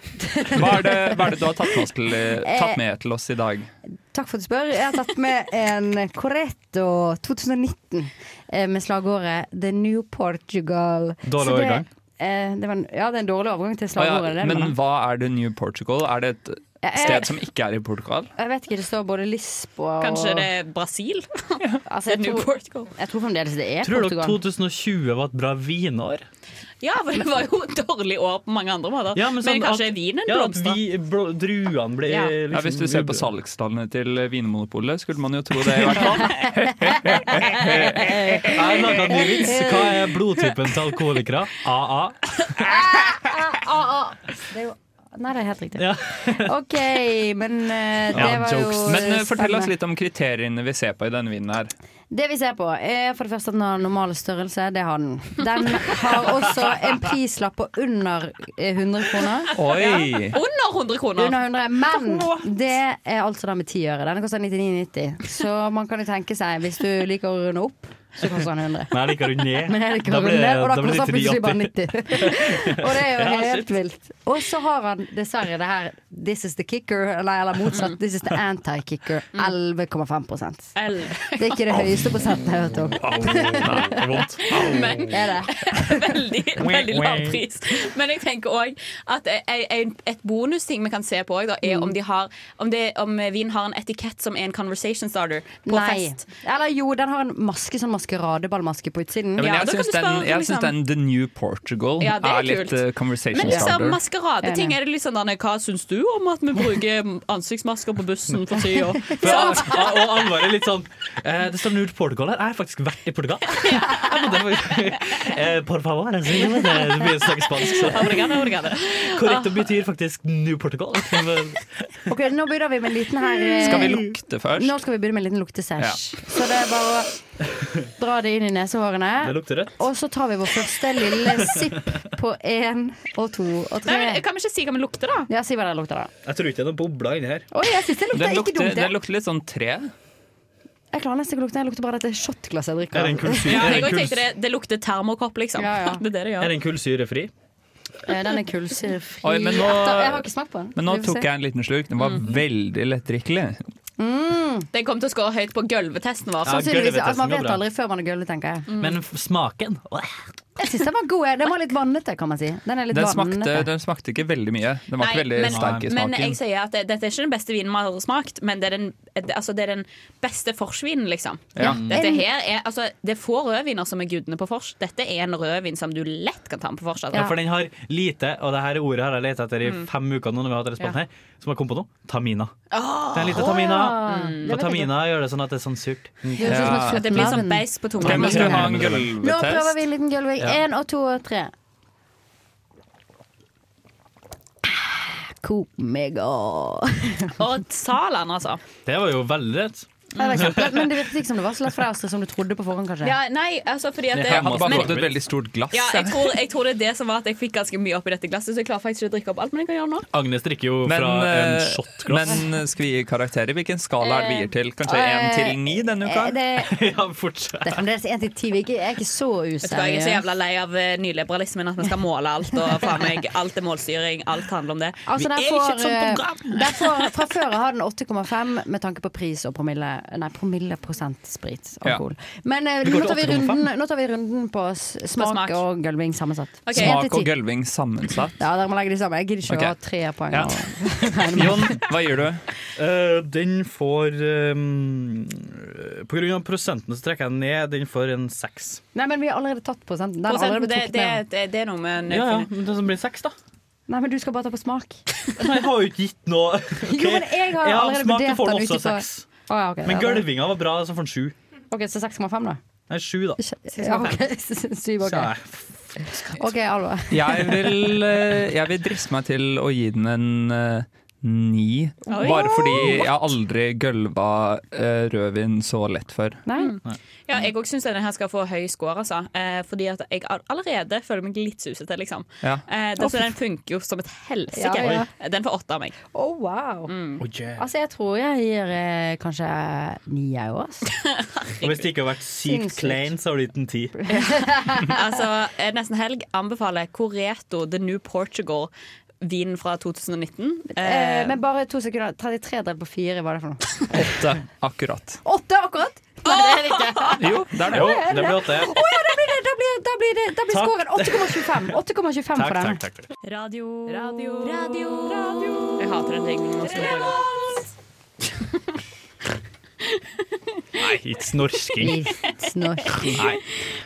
Hva er det, hva er det du har tatt med, oss til,
Eh,
tatt med til oss i dag?
Takk for at du spør. Jeg har tatt med en Corretto 2019 eh, med slagordet 'The New Portugal'.
Dårlig
Så det-
overgang.
Eh, det var en, ja, det er en dårlig overgang til
Å ja,
slagordet. det, Eh,
men
men,
hva er det New Portugal? Er det et sted som ikke er i Portugal?
jeg vet ikke, det står både Lisboa og
Kanskje det er Brasil?
altså,
Det er New
jeg, tror,
Portugal.
jeg tror fremdeles det er
Tror dere
Portugal.
2020 var et bra vinår?
Ja, for det var jo et dårlig år på mange andre måter.
Ja,
men,
sånn
kanskje
at-
vinen
ja, at
blomstrer?
vi- blå- Druene ble
Ja.
liksom
Ja, hvis du ser på salgstallene til Vinmonopolet, skulle man jo tro det. i hvert fall.
Jeg laga ny vits. Hva er blodtypen til alkoholikere? AA.
Det er jo, nei, det er helt riktig.
Ja.
OK, men eh, det
Ja,
var jo
jokes.
Men eh, fortell oss litt om kriteriene vi ser på i denne vinen her.
Det vi ser på, er for det første at den har normal størrelse. Det har den. Den har også en prislapp på under eh, 100 kroner.
Oi.
Under 100 kroner!
Under 100, men det er altså da med 10 øre. Denne koster 99,90. Så man kan jo tenke seg, hvis du liker å runde opp, så koster den 100.
Men jeg liker å runde ned.
Men jeg liker
Da
å
blir-
runde, og da
da blir det
koster den plutselig bare
93.
90. og det er jo
Ja,
helt
shit.
vilt. Og så har han dessverre det her This is the kicker, eller, eller
Mm.
motsatt. This is the anti-kicker. 11,5 Det
Eller
er ikke det høyeste prosentet jeg har hørt om.
Au, nei, det er vondt.
Men
Det er det.
veldig, veldig lav pris. Men jeg tenker òg at en- en- et bonusting vi kan se på, også da, er om, de har, om, det, om vin har en etikett som er en conversation starter på
Nei.
fest.
Eller jo, den har en maske, sånn maskeradeballmaske på utsiden.
Ja, men
Ja, da
jeg
kan
syns
du
den,
spørre,
jeg
liksom.
synes den The New Portugal
Ja, det er
er, litt
kult.
eh, conversation
Men liksom
starter.
maskeradeting, er det litt sånn Anne, Hva syns du om at vi bruker ansiktsmasker på bussen for tida?
For, og og alvoret er litt sånn eh, Det står null Portugal her. Jeg har faktisk vært i Portugal. Jeg bodde på- eh, Por favor. altså, Det er mye snakk spansk, så
Obrigado, obrigado.
korrekt og betyr faktisk New Portugal.
Ok, Nå begynner vi med en liten her eh,
Skal vi lukte først?
Nå skal vi begynne med en liten luktesæsj. Så det er bare å dra det inn i
Det
nesehårene.
lukter rødt.
Og så tar vi vår første lille sipp på én og to og
Nei, men,
tre.
kan vi ikke si hva vi lukter, da?
Ja, Si hva det lukter, da.
Jeg tror ikke det er noen bobler inni her.
Oi, jeg syns det lukter
Den
ikke
lukter,
dumt.
den
Jeg,
lukter litt sånn tre.
jeg klarer nesten ikke å lukte. Jeg lukter bare dette shotglasset
Er
jeg
det en
drikker.
kulsyre-
Ja,
er
jeg
det en
også
kuls-
tenkte det, det lukter termokopp, liksom.
Ja, ja.
Det er det det
er
gjør.
det en kullsyrefri?
Eh, Den er kullsyrefri.
Oi, men nå-
Etter- Jeg har ikke smakt på den.
Men nå
Vi får
tok
se.
jeg en liten slurk. Den var veldig lettdrikkelig.
Den kom til å score høyt på gulvetesten vår.
Ja,
Sannsynligvis.
gulvet er
Altså, man
så
vet
bra.
aldri før man er gulvet, tenker jeg.
Men f- smaken Åh.
Jeg syns den var god. jeg. Den var litt vannete, kan man si. Den er litt
Den smakte,
vannete.
den smakte ikke veldig mye. Den var
Nei,
ikke veldig
men-
sterk i
Men jeg
smaken.
sier at det, dette er ikke den beste vinen vi har smakt, men det er den, det- altså det er den beste forsvinen, liksom.
Ja.
Dette her er, altså, det er få rødviner som er gudene på vors. Dette er en rødvin som du lett kan ta med på vors. altså.
Ja, Mm. for den har lite, og det her ordet har jeg leta etter i fem uker nå, når vi har hatt denne spalten her, som har kommet på nå. Tamina. Det er en liten tamina.
Mm.
Og tamina gjør det sånn at det er sånn surt.
Det høres ut som et
Ja.
fruktnavn.
Det blir sånn beis på tunga.
Ok, men skal vi ha en
Nå prøver vi
gulvetest?
en liten gulving.
Ja.
Én og to og tre. Coop Mega.
Og Salan, altså.
Det var jo veldig rett.
Det var kjempelett, men det virket ikke som det var så lett for deg, Astrid, som du trodde på forhånd, kanskje.
Ja, nei, altså fordi at det,
Jeg hadde bare
men-
fått et veldig stort glass.
ja, jeg,
jeg.
tror, jeg tror det er det som var at jeg fikk ganske mye oppi dette glasset, så jeg klarer faktisk ikke å drikke opp alt, men jeg kan gjøre det nå.
Agnes drikker jo
Men,
fra en
eh,
shotglass.
men eh, skal vi gi karakterer? Hvilken skala er det vi gir til? Kanskje én
eh,
til ni denne
Eh,
uka?
Det,
ja, fortsett.
det er fremdeles én til ti. Vi er ikke- Jeg er ikke så
Vet du hva, Jeg er så
useriøs.
jævla lei av eh, nyliberalismen, at vi skal måle alt. Og faen meg, alt er målstyring, alt handler om det.
Altså,
vi
der
er
får,
ikke et sånt program!
eh, der får, fra før av har den 8,5 med tanke på pris og promille Nei, promille prosent sprit. Alkohol. Men eh,
går
nå, tar vi
til 8,5.
runden, nå tar vi runden på s- smak,
smak.
og gulving sammensatt.
Ok.
Så en til
Smak og
ti.
gulving sammensatt.
Ja, dere må legge de sammen. Jeg gidder ikke
Ok.
å ha tre poeng.
Ja.
og-
Jon, hva gir du?
Eh, den får eh, På grunn av prosenten så trekker jeg den ned. Den får en seks.
Nei, men vi har allerede tatt prosenten. Den har
Prosent,
allerede
det,
trukket
det,
ned.
det, det er noe med en
Ja, ja, men det som blir seks, da.
Nei, men du skal bare ta på smak.
Nei, jeg har jo ikke gitt noe.
Jo, men jeg har
Ja,
allerede
smaken
vurdert
får
den
den
ut
også
ifra
seks.
Å, ja, ok,
Men
da-
gølvinga var bra, så får den sju.
Ok, så 6,5, da.
Nei, sju, da.
Ja, ok, Syv,
Så
ok.
jeg-
Ok, Alva.
Jeg vil, eh, jeg vil driste meg til å gi den en eh, ni.
Oi.
Bare fordi jeg har aldri gølva eh, rødvin så lett før.
Nei?
Mm.
Ja, jeg òg syns denne her skal få høy score, altså. Eh, fordi at jeg all- allerede føler meg litt susete, liksom.
Ja.
Eh, den, så den funker jo som et helsike.
Ja, ja.
Eh, Den får åtte av meg.
Oh, wow.
Oh, yeah.
Altså, jeg tror jeg gir eh, kanskje ni, jeg altså. òg. ass.
Og hvis det ikke har vært sykt
Sinnssykt.
klein, så har du gitt den ti.
Altså, eh, Nesten helg anbefaler Coreto The New Portugal. Vinen fra 2019.
Eh, men bare to sekunder. 33 delt på 4, hva er det for noe?
Åtte, akkurat.
Åtte, akkurat! Nei, det er det ikke.
Jo, det er
Jo,
det.
det blir åtte.
Å ja, da blir det Da blir, da blir, det, da blir
Takk.
scoren 8,25. 8,25
Takk,
for den.
takk, takk. takk.
Eh, Radio. Radio. Radio. Jeg hater den regelen. nå skal jeg prøve.
Nei, ikke snorsking.
Snorking.
Nei.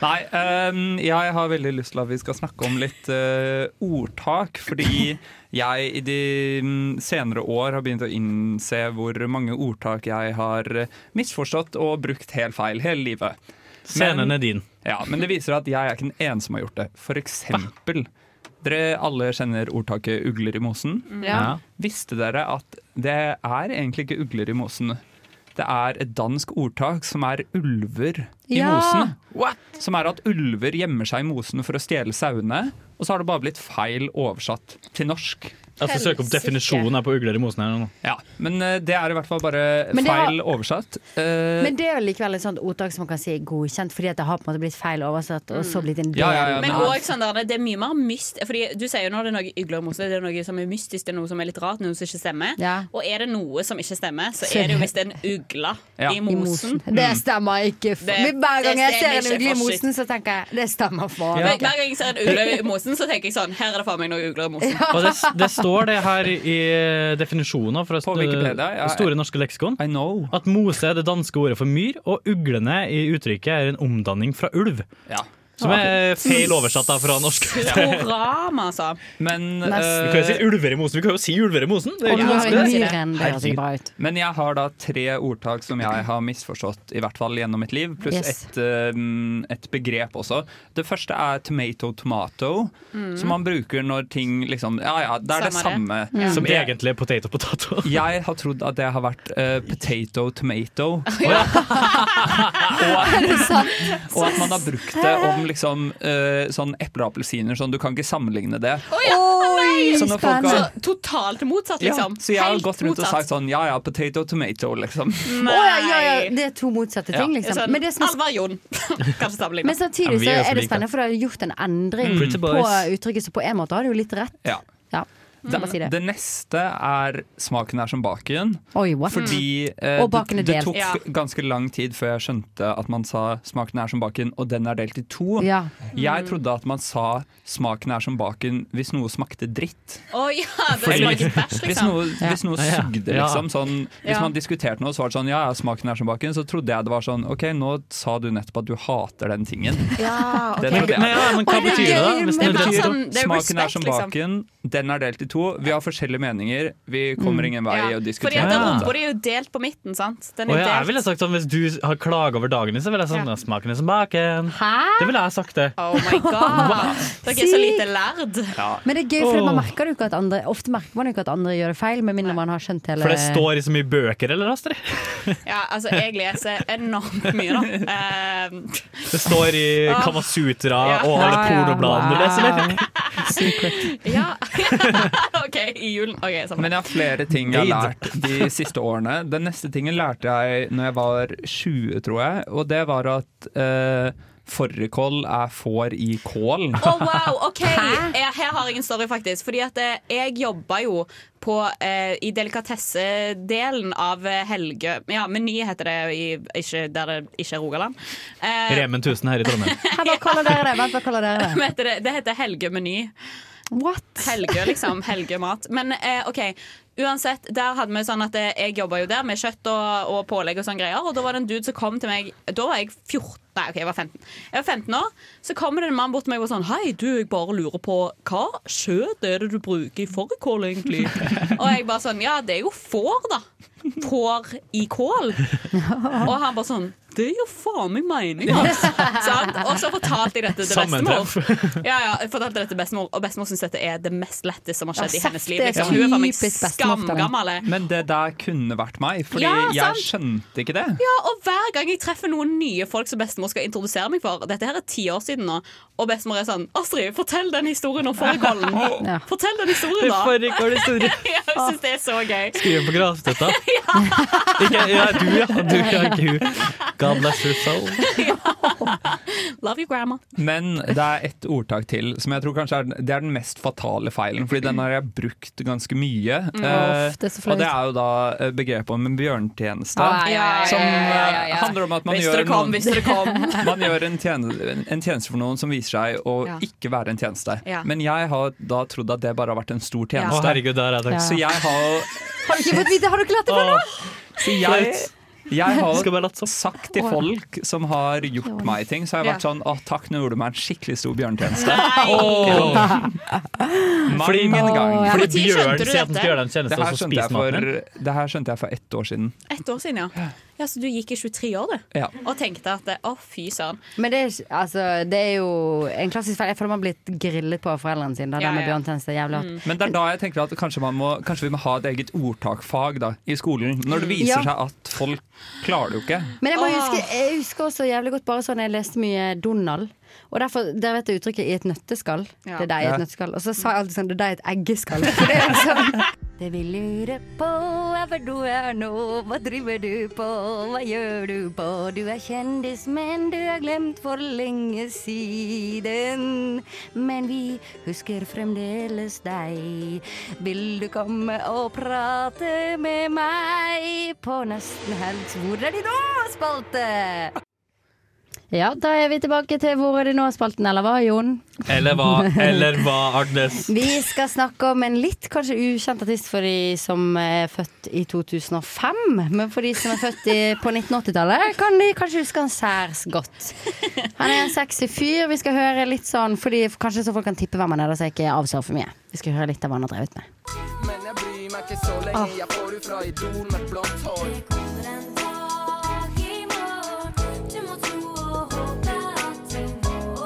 Nei, ehm, jeg har veldig lyst til at vi skal snakke om litt eh, ordtak, fordi jeg i de mm, senere år har begynt å innse hvor mange ordtak jeg har eh, misforstått og brukt helt feil hele livet.
Scenen er din.
Ja, men det viser at jeg er ikke den eneste som har gjort det. For eksempel, dere alle kjenner ordtaket 'ugler i mosen'.
Mm. Ja.
Visste dere at det er egentlig ikke ugler i mosen? Det er et dansk ordtak som er 'ulver i
Ja.
mosen'. Som er at ulver gjemmer seg i mosen for å stjele sauene, og så har det bare blitt feil oversatt til norsk.
Jeg skal søke opp definisjonen her på ugler i mosen. her nå.
Ja, Men eh, det er i hvert fall bare
Men det har-
feil oversatt. Eh,
Men det er jo likevel et sånt ordtak som man kan si er godkjent, fordi at det har på en måte blitt feil oversatt, og så blitt en del.
Ja, ja, ja,
av-
Men også, sånn der, det er mye mer myst Fordi Du sier jo når det er noe ugler og mose, det er noe som er mystisk, det er noe som er litt rart, noe som ikke stemmer.
Ja.
Og er det noe som ikke stemmer, så
Så
er det jo
det-
hvis det er en ugle
Ja.
i mosen.
Det stemmer ikke. For.
Det-
Hver gang
det
jeg ser
stemmer
en
ikke
ugle i
for
mosen, så tenker jeg det stemmer faen
Ja.
Hver hver gang jeg ser en ugle i mosen, så tenker jeg sånn Her er det faen meg noe ugler i mosen.
Og det, det står det her i eh, definisjonen fra
På Wikipedia, ja.
Store norske leksikon
I know.
at mose er det danske ordet for myr, og uglene i uttrykket er en omdanning fra ulv.
Ja.
Som er feil oversatt da fra norsk.
Storama, altså.
Men
Vi
eh,
kan jo si ulver i mosen. Vi kan jo si ulver i mosen. Det er
Og
jo
du
ikke
har
vanskelig.
det.
en myren. Det altså, høres ikke bra ut.
Men jeg har da tre ordtak som jeg har misforstått, i hvert fall gjennom mitt liv, pluss
Yes.
et, eh, et begrep også. Det første er tomato tomato, som man bruker når ting liksom Ja ja, det er
Samme
det samme.
Som
Det-
egentlig er potato potato.
Jeg har trodd at det har vært eh, potato tomato. og, og at man har brukt det om liksom eh, sånn eple og appelsiner sånn. Du kan ikke sammenligne det.
Oi,
Så når folk
spennende!
har
Så totalt motsatt,
ja,
liksom.
så jeg har
Helt
gått rundt og
motsatt.
sagt sånn ja ja, potato tomato, liksom.
Nei.
Å, ja, ja, ja. Det er to motsatte ting,
Ja.
liksom.
Sånn,
Men, det som er,
Alvar Jon. Kanskje
men
sammenlignet.
samtidig
Ja, vi
så
er jo så
er det
like.
spennende, for du har gjort en endring
Mm. Pretty
på
boys.
uttrykket, så på en måte har du jo litt rett.
Ja.
Ja, la meg si det.
Det neste er smaken er som baken.
Oi, what?
Fordi eh,
Mm. Og baken er
det, det
delt.
tok
Ja.
ganske lang tid før jeg skjønte at man sa smaken er som baken, og den er delt i to.
Ja. Mm.
Jeg trodde at man sa smaken er som baken hvis noe smakte dritt.
Å ja, det
Fordi-
smaker bæsj,
Hvis
liksom.
noe, hvis noe
Ja.
sugde,
Ja.
liksom. Sånn, hvis
Ja.
man diskuterte noe, så var det sånn ja, ja, smaken er som baken. Så trodde jeg det var sånn OK, nå sa du nettopp at du hater den tingen. Det
Men,
trodde jeg.
nei, ja, men hva
Oi, det er
betyr det, da?
gøy,
Hvis
men-
det
Det er
betyr
bare sånn- det er
Smaken er som
respect, liksom.
baken, den er delt i to. Vi har forskjellige meninger. Vi kommer ingen vei i
Mm.
å
Fordi
diskutere.
at den
Ja.
oppå det er jo delt på midten, sant. Den
Å,
er
ja, jeg ville
delt.
sagt sånn, Hvis du har klaga over dagen din, så ville jeg sånn
Ja.
ja. Smaken er som baken.
Hæ?
Det ville jeg sagt, det.
Oh my god. Dere er så lite lærd.
Men det er gøy, for
Åh.
man merker jo ikke at andre Ofte merker man jo ikke at andre gjør det feil, med mindre man har skjønt hele
For det står i så mye bøker, eller, Astrid?
Ja, altså, jeg leser enormt mye, da. Eh,
Det står i Kamasutra
Ja.
og alle pornobladene du leser, eller?
ja. OK, i julen. OK, samme.
Men jeg har flere ting jeg har
Aid.
lært de siste årene. Den neste tingen lærte jeg når jeg var 20, tror jeg. Og det var at eh, fårikål er får i kål.
Å, wow, ok jeg, Her har jeg en story, faktisk. Fordi at eh, jeg jobba jo på, eh, i delikatessedelen av eh, Helgø Ja, Meny heter det, i, ikke, der det ikke er Rogaland. Eh,
Remen 1000 her i Trondheim.
Her, Hva kaller dere det? Vent, hva kaller dere det?
hva heter det? det heter Helgø Meny.
What?
Helge, liksom. Helgemat. Men eh, OK. Uansett, der hadde vi sånn at eh, jeg jobba jo der med kjøtt og, og pålegg og sånne greier. Og da var det en dude som kom til meg Da var jeg 14 Nei, OK, jeg var 15. Jeg var 15 år. Så kommer det en mann bort til meg og var sånn Hei, du, jeg bare lurer på hva kjøtt er det du bruker i fårikål, egentlig? og jeg bare sånn Ja, det er jo får, da. Får i kål. og han bare sånn Det gir faen meg mening, altså. Sant? og så fortalte jeg dette til bestemor.
Sammentreff.
Ja, ja, jeg fortalte det til bestemor, og bestemor syns dette er det mest lette som har skjedd
Ja,
i hennes
sett
liv.
det,
Liksom. Hun er faen meg
typisk bestemor, da.
skamgammel. jeg.
Men det der kunne vært meg, fordi
Ja, sant.
jeg skjønte ikke det.
Ja, og hver gang jeg treffer noen nye folk som bestemor skal introdusere meg for Dette her er ti år siden nå, og bestemor er sånn Astrid, fortell den historien om fårikålen.
Ja.
Fortell den historien, da.
Forrige kål historie.
Jeg syns det er så gøy.
Skriv på gravstøtta. Ikke ja, du, ja. Du, ja, ikke hun. God bless your soul.
Love you, grandma.
Men det er ett ordtak til som jeg tror kanskje er, den- det er den mest fatale feilen, fordi den har jeg brukt ganske mye.
Mm.
Eh,
det er så flaut.
og det er jo da eh, begrepet om en bjørntjeneste.
Nei,
Ah, ja, ja,
Som
ja, ja, ja,
eh,
ja.
handler om at man
Hvis
gjør
dere kom,
noen-
hvis dere kom.
Man gjør en tjeneste, en tjeneste for noen som viser seg å
Ja.
ikke være en tjeneste.
Ja.
Men jeg har da trodd at det bare har vært en stor
Å,
tjeneste.
herregud, der er
Ja.
det.
Så jeg har,
Har du ikke fått vite? Har du ikke lært det før nå?
så jeg, jeg
Skal
har
bare late som.
sagt til folk som har gjort meg ting, så har jeg vært sånn Å, takk, nå gjorde du meg en skikkelig stor bjørnetjeneste.
Åh,
Mange
Åh,
ganger.
Fordi
Når tid skjønte
bjørn
du
sier at den
dette?
skal gjøre deg en tjeneste,
Det
og
her
så
skjønte jeg
spiser man den.
for, det her skjønte jeg for ett år siden.
Ett år siden, ja. Ja, Så du gikk i 23 år, du?
Ja.
Og tenkte at eh, å, fy søren.
Men det er, ikke- altså, det er jo en klassisk feil. Jeg føler man har blitt grillet på av foreldrene sine. Da,
Ja,
det med
ja.
bjørntjeneste er jævlig hardt.
Men det er da jeg tenker at kanskje, man må, kanskje vi må ha et eget ordtakfag da, i skolen. Når det viser
Ja.
seg at folk klarer det jo ikke.
Men jeg, må huske, jeg husker også jævlig godt bare sånn jeg leste mye Donald. Og derfor, Der vet jeg uttrykket 'i et nøtteskall'.
Ja.
Det er deg i
Ja.
et nøtteskall. Og så sa jeg alltid sånn 'det er deg i et eggeskall'. For det er liksom
Det vi lurer på er hvor du er nå, hva driver du på, hva gjør du på? Du er kjendis, men du er glemt for lenge siden. Men vi husker fremdeles deg. Vil du komme og prate med meg på Nesten helg? Hvor er de nå, spalte?
Ja, da er vi tilbake til 'Hvor er de nå?'-spalten, eller hva, Jon?
Eller hva, eller hva, Agnes?
Vi skal snakke om en litt kanskje ukjent artist for de som er født i 2005. Men for de som er født i, på 1980-tallet, kan de kanskje huske han særs godt. Han er en sexy fyr. Vi skal høre litt sånn, fordi kanskje så folk kan tippe hvem han er, da, så jeg ikke avslører for mye. Vi skal høre litt av hva han har drevet med.
Men jeg bryr meg ikke så
Ah.
lenge Jeg får ut fra idol med blått hår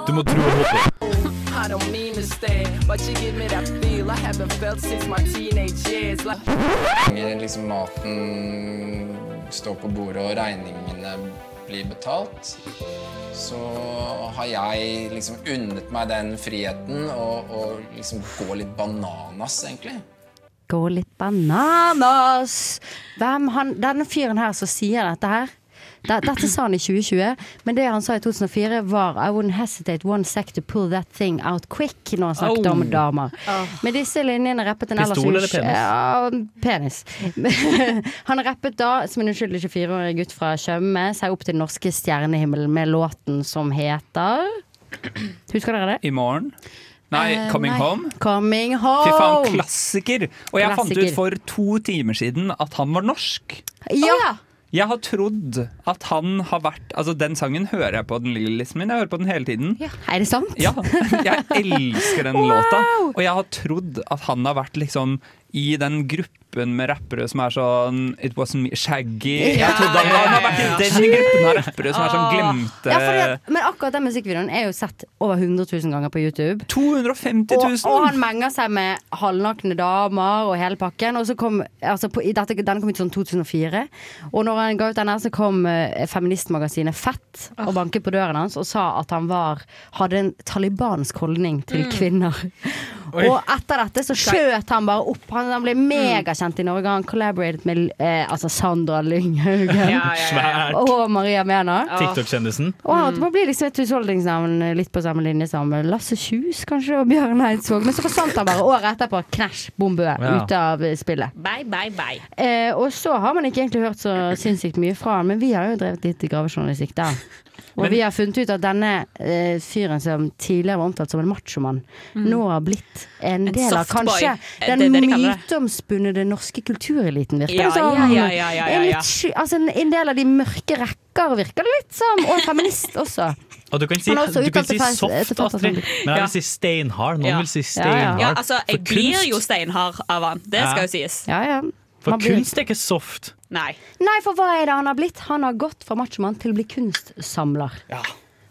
Du må tro og håpe.
I don't mean to stay But you give me that feel I haven't felt since my teenage years like
liksom maten står på bordet og regningene blir betalt, så har jeg liksom unnet meg den friheten og, og liksom gå litt bananas, egentlig.
Gå litt bananas! Hvem han, denne fyren her som sier dette her de- dette sa han i 2020, men det han sa i 2004 var I wouldn't hesitate one sec to pull that thing out quick når han snakket
Oh.
om damer.
Ah.
Med disse linjene rappet en ellers
Pistol eller
usj-
penis?
Ja, penis. han rappet da, som en uskyldig 24-årig gutt fra Tjøme, seg opp til den norske stjernehimmelen med låten som heter Husker dere det?
I morgen. Nei,
Eh,
Coming
nei.
Home.
Coming home.
Fy faen, klassiker! Og jeg fant ut
Klassiker.
for to timer siden at han var norsk.
Ja!
Jeg har trodd at han har vært Altså, den sangen hører jeg på, den ligger i listen min. Jeg hører på den hele tiden.
Er det sant?
Ja, jeg elsker den låta. Og jeg har trodd at han har vært liksom i den gruppen med rappere som er sånn It wasn't me, Shaggy Jeg trodde han, han har vært i den gruppen av rappere som er sånn glemte
Ja, fordi at, men akkurat den musikkvideoen er jo sett over 100 000 ganger på YouTube.
250
000! Og, og han menger seg med halvnakne damer og hele pakken. Og så kom, altså på, i dette, Denne kom ut sånn 2004. Og når han ga ut den her, så kom eh, feministmagasinet Fett og banket på døren hans og sa at han var, hadde en talibansk holdning til
Mm.
kvinner.
Oi.
Og etter dette så skjøt han bare opp. Han, han ble megakjent i Norge. Han collaborated med eh, altså Sandra Lynghaugen
Svært.
og Maria Mena.
Ah.
TikTok-kjendisen.
Og
Mm.
han holdt på å bli liksom et husholdningsnavn eh, litt på samme linje som eh, Lasse Kjus kanskje, og Bjørn Eidsvåg. Men så forsvant han bare året etterpå. Knæsj, bombe
Ja.
ute av eh, spillet.
Bye, bye, bye.
Eh, og så har man ikke egentlig hørt så sinnssykt mye fra han, men vi har jo drevet litt gravejournalistikk da. Og
Men-
vi har funnet ut at denne eh, fyren som tidligere var omtalt som en machomann,
Mm.
nå har blitt en,
En
del av
softboy.
kanskje
Eh,
den
det er det de kaller det.
myteomspunnede norske kultureliten, virker
Ja,
det som.
ja, ja, ja, ja, ja,
En,
ja.
litt sky, altså en, en del av de mørke rekker virker det litt som, og feminist også.
Og du kan si,
Han har også
du kan
uttalt
si
seg feil-
soft,
til feil-
Astrid, men jeg
Ja.
vil si steinhard. Noen vil si
sånn. Ja,
steinhard.
altså,
For
jeg blir
kunst-
jo steinhard av han. Det
Ja.
skal jo sies.
Ja, ja.
For
Man blir-
kunst er ikke soft.
Nei.
Nei, for hva er det han har blitt? Han har gått fra machomann til å bli kunstsamler.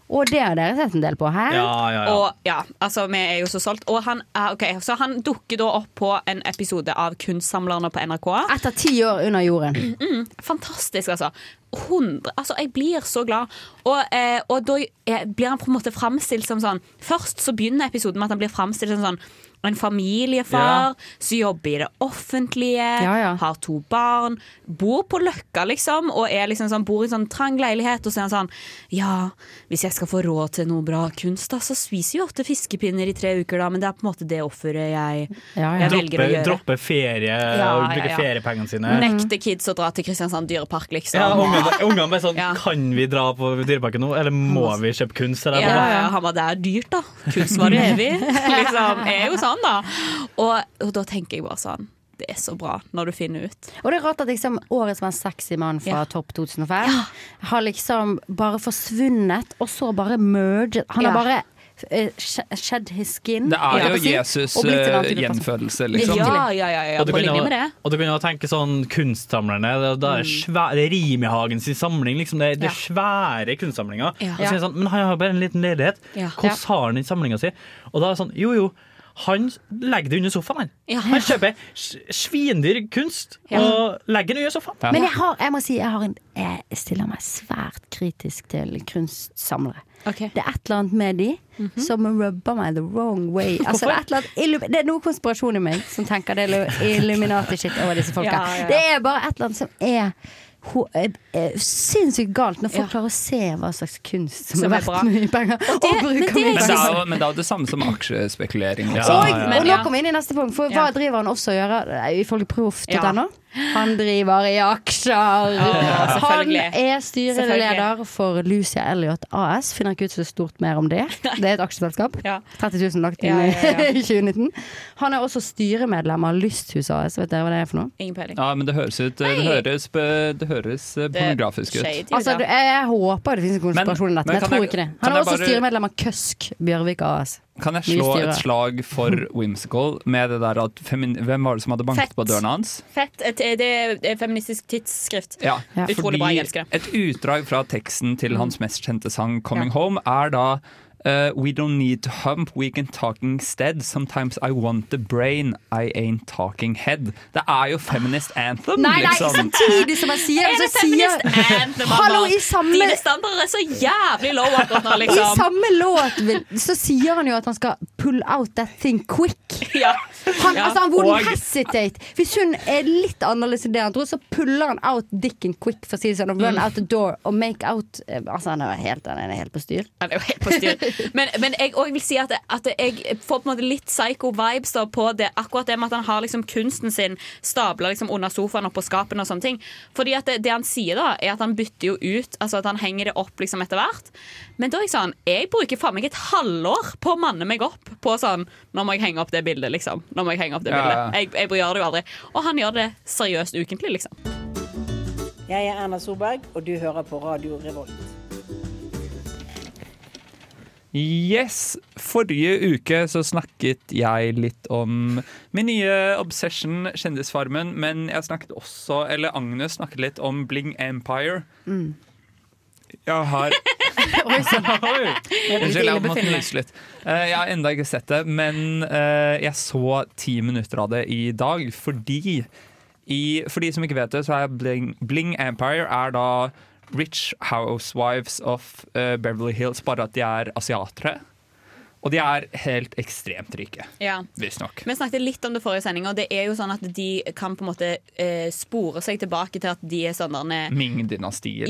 Og det har dere sett en del på her.
Og ja, altså vi er jo så solgt. Og han, ah, ok, så han dukker da opp på en episode av Kunstsamlerne på NRK.
Etter ti år under jorden.
Mm, fantastisk, altså. 100, altså. Jeg blir så glad. Og, eh, og da eh, blir han på en måte framstilt som sånn Først så begynner episoden med at han blir framstilt som sånn en familiefar
Ja.
som jobber i det offentlige,
Ja,
har to barn, bor på Løkka, liksom, og er liksom sånn, bor i en sånn trang leilighet. Og så er han sånn Ja, hvis jeg skal få råd til noe bra kunst, da, så spiser jeg ofte fiskepinner i tre uker, da, men det er på en måte det offeret jeg, jeg velger å
Droppe,
gjøre.
droppe ferie
Ja,
og
ja,
bruke
ja.
feriepengene sine.
Nekte kids å dra til Kristiansand dyrepark, liksom.
Ja, ungene bare- ungene bare sånn Kan vi dra på Dyreparken nå, eller må vi kjøpe kunst? Eller?
Ja, ja, han var der dyrt, da. Kunstvarer evig. Liksom, er jo sånn, da. Og, og da tenker jeg bare sånn Det er så bra når du finner ut.
Og det er rart at liksom årets mest sexy mann
Ja.
fra Topp 2005 har liksom bare forsvunnet, og så bare merget. Han har
Ja.
bare eh, sh- shed his skin.
Det er
holdt
jo
jeg på å si,
Jesus'
og blitt en
eh,
antilopater.
gjenfødelse, liksom.
Ja, ja, ja, ja,
og du
på
kan
linje
jo-
med det. Mm.
Og du kan jo tenke sånn kunstsamlerne. Det, det er svære, det er Rimihagen sin samling. Liksom. Det, er- det er svære kunstsamlinger.
Ja.
Og så er det sånn, men han har bare en liten leilighet.
Ja.
Hvordan har han den samlinga si? Og da er det sånn, jo jo, han legger det under sofaen, han. Han kjøper s- svindyr kunst
Ja.
og legger det under sofaen.
Men jeg, har, jeg må si jeg, har en, jeg stiller meg svært kritisk til kunstsamlere. Det er et eller annet med de som rubber meg the wrong way. Altså, det, er et eller annet, illu- det er noe konspirasjon i meg som tenker det er Illuminati-shit over disse folka.
Ja, ja, ja.
Det er bare et eller annet som er ho- eh, eh, sinnssykt galt når folk klarer å se hva slags kunst som,
Som
er
er bra.
verdt mye penger. Og, bruker mye
Men det
penger.
er jo men det, er jo det samme som aksjespekulering. altså.
Og, og nå kommer vi inn i neste punkt, for hva driver han også å gjøre, eh, ifølge proff.no? Han driver i aksjer!
Ja,
han
selvfølgelig.
er styreleder for Lucia Elliot AS. Finner ikke ut så stort mer om det. Det er et aksjeselskap. 30 000 lagt inn
Ja, ja, ja.
i 2019. Han er også styremedlem av Lysthus AS. Vet dere hva det er for noe?
Ingen peiling.
Ja, men det høres ut Det høres, det høres eh, pornografisk ut.
Altså, du- jeg, jeg håper det finnes en konspirasjon i dette,
men
men jeg
kan
tror
jeg-
ikke det.
kan
Han er
jeg
også
bare-
styremedlem av Køsk Bjørvik AS.
Kan jeg
Nye
slå
styre.
et slag for Whimsical med det der at femin Hvem var det som hadde banket
Fett.
på døren hans?
Fett. Et, det er et feministisk tidsskrift.
Ja,
Utrolig bra. Jeg elsker det.
Et utdrag fra teksten til hans
Mm.
mest kjente sang 'Coming Home' er da eh, We don't need to hump, we can talk instead. Sometimes I want the brain, I ain't talking head. Det er jo feminist anthem,
Nei, nei,
liksom.
samtidig som jeg sier
Er
så
det
sier-
feminist anthem, mamma?
Hallo, i samme
Dine standarder er så jævlig low akkurat nå, liksom.
I samme låt vil, så sier han jo at han skal 'pull out that thing quick'.
Ja.
Han,
Ja.
altså, han wouldn't
Og-
hesitate. Hvis hun er litt annerledes enn det han tror, så puller han out dicken quick, for å si det sånn, og run
Mm.
out the door og make out eh, Altså, han er jo helt, han er helt på styr.
Han er jo helt på styr. Men, men jeg òg vil si at, at jeg får på en måte litt psycho-vibes da på det, akkurat det med at han har liksom kunsten sin stabla liksom under sofaen og på skapene og sånne ting. Fordi at det, det han sier da, er at han bytter jo ut, altså at han henger det opp liksom etter hvert. Men da er jeg sånn Jeg bruker faen meg et halvår på å manne meg opp på sånn Nå må jeg henge opp det bildet, liksom. Nå må jeg henge opp det
Ja, ja.
bildet. Jeg, jeg gjør det jo aldri. Og han gjør det seriøst ukentlig, liksom.
Jeg er Erna Solberg, og du hører på Radio Revolt.
Yes! Forrige uke så snakket jeg litt om min nye obsession, Kjendisfarmen. Men jeg snakket også, eller Agnes snakket litt om Bling Empire.
Mm.
Jeg har
Oi, så-
Unnskyld, jeg måtte nyse litt. Eh, Jeg har enda ikke sett det, men eh, jeg så ti minutter av det i dag fordi i, For de som ikke vet det, så er Bling, Bling Empire er da Rich Housewives of eh, Beverly Hills, bare at de er asiatere. Og de er helt ekstremt rike,
Ja.
visstnok.
Vi snakket litt om det forrige sending, og det er jo sånn at de kan på en måte eh, spore seg tilbake til at de er sånn der
Ming-dynastiet,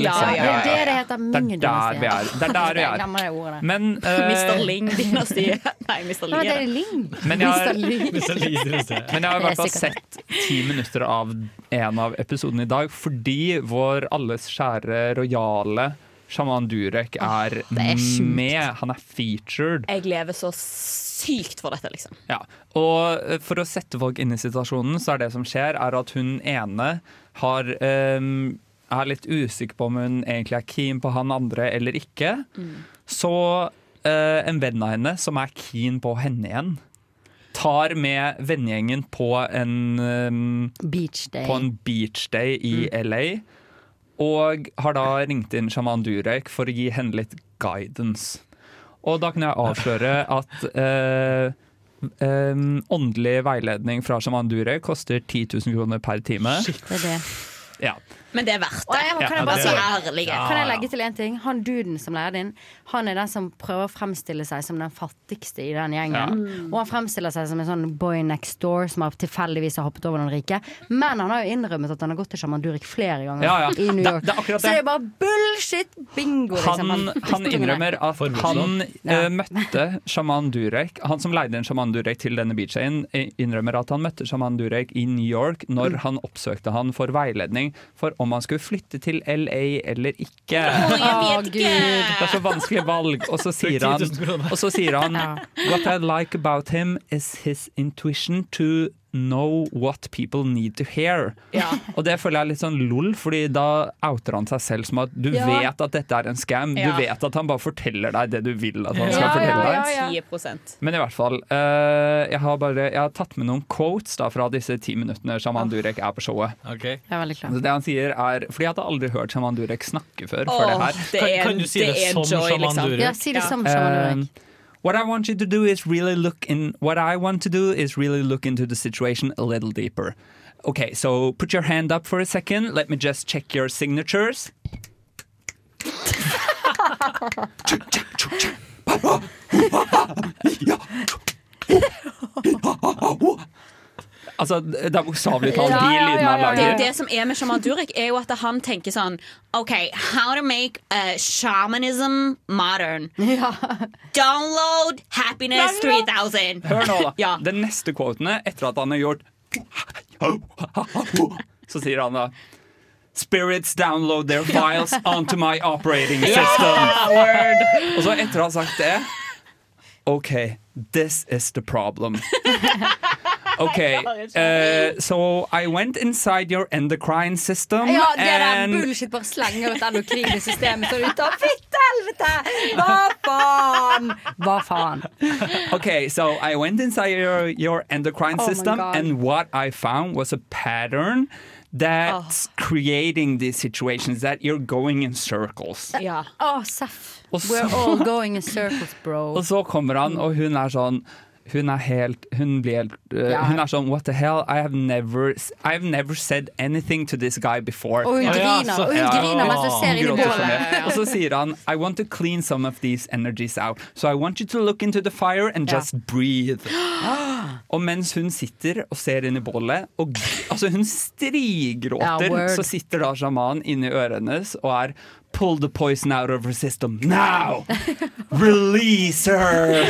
Ja,
liksom.
ja, ja. Det er det det heter,
Det er der vi er. Det er der vi
Jeg
er.
glemmer det ordet.
Men eh,
Mr. Ling-dynastiet. Nei, Mr.
Hva
Ling.
var
er
det Ling?
Men jeg, har-
Mr. Ling.
men jeg har i hvert fall sett ti minutter av en av episodene i dag, fordi vår alles kjære rojale sjaman Durek er,
er sjukt.
med. Han er featured.
Jeg lever så sykt for dette, liksom.
Ja. Og eh, for å sette folk inn i situasjonen, så er det som skjer, er at hun ene har ehm, er litt usikker på om hun egentlig er keen på han andre eller ikke.
Mm.
Så eh, en venn av henne som er keen på henne igjen, tar med vennegjengen på en ehm,
Beach day.
på en beach day i LA. Og har da ringt inn sjaman Durek for å gi henne litt guidance. Og da kan jeg avsløre at eh, eh, åndelig veiledning fra sjaman Durek koster 10 000 kroner per time.
Det er det.
Ja.
Men det Altså, er verdt
Og jeg, må-
Ja,
kan jeg
det
bare
er
si
det. Ærlig.
Kan jeg
Ah, Ja, ja.
legge til en ting? Han duden som leier inn, han er den som prøver å fremstille seg som den fattigste i den gjengen.
Ja. Mm.
Og han fremstiller seg som en sånn boy next door som har tilfeldigvis har hoppet over noen rike. Men han har jo innrømmet at han har gått til sjaman Durek flere ganger
Ja, ja.
i New
Det-
York.
det er
Så
akkurat
det er
det.
bare bullshit bingo. liksom.
Han, han innrømmer at han eh, møtte sjaman Durek Han som leide en sjaman Durek til denne beachen, eh, innrømmer at han møtte sjaman Durek i New York når han oppsøkte han for veiledning for om han skulle flytte til LA eller ikke.
Å, Gud.
Det er så vanskelig valg. Og så sier
Bruk
han,
10 000 kroner.
og så sier han
Ja.
What I like about him is his intuition to know what people need to hear. Og det føler jeg er litt sånn lol, Fordi da outer han seg selv som at du
Ja.
vet at dette er en scam. Du
Ja.
vet at han bare forteller deg det du vil at han skal
Ja,
fortelle deg.
ja, ja, ja. 10
Men i hvert fall, eh, jeg, har bare, jeg har tatt med noen quotes da, fra disse ti minuttene
Ah.
Shaman Durek er på showet.
Jeg er veldig klar.
Så det han sier er, fordi jeg hadde aldri hørt Shaman Durek snakke før.
Åh,
før det her.
det er- Kan- kan du si det det er som joy, Shaman liksom. Durek? Ja, si det som Shaman Durek.
Um, What I want you to do is really look in. What I want to do is really look into the situation a little deeper. Okay, so put your hand up for a second. Let me just check your signatures. Altså, det er bokstavelig talt de lydene han
Det er
lager.
jo det som er med sjaman Durek, er jo at han tenker sånn OK, how to make uh, shamanism modern. Download Happiness 3000.
Hør nå, da. Den neste quotene, etter at han har gjort Så sier han da Spirits download their files onto my operating system. Og så etter å ha sagt det OK, this is the problem. Okay, uh, so I went inside your endocrine system
Ja, det der
and
bullshit bare slenger ut endokrine systemet sånn ut av fitte helvete! Hva faen? Hva faen?
okay, so I went inside your, your endocrine
Oh my
system,
God.
and what I found was a pattern that's creating these situations that you're going in circles.
Ja. Å, Seff.
Og så-
We're all going in circles, bro.
Og så kommer han, og hun er sånn hun er helt Hun blir helt øh,
Ja.
Hun er sånn What the hell? I have never I have never said anything to this guy before.
Og hun Ja, ja, griner, så- og hun griner mens hun
Ja.
ser inn i
Hun gråter
bålet.
sånn, ja. Og så sier han I want to clean some of these energies out. So I want you to look into the fire and
Ja.
just breathe. Og mens hun sitter og ser inn i bålet, og g- altså hun strigråter,
Ja, word.
så sitter da sjamanen inni øret hennes og er Pull the poison out of her system now! Release her!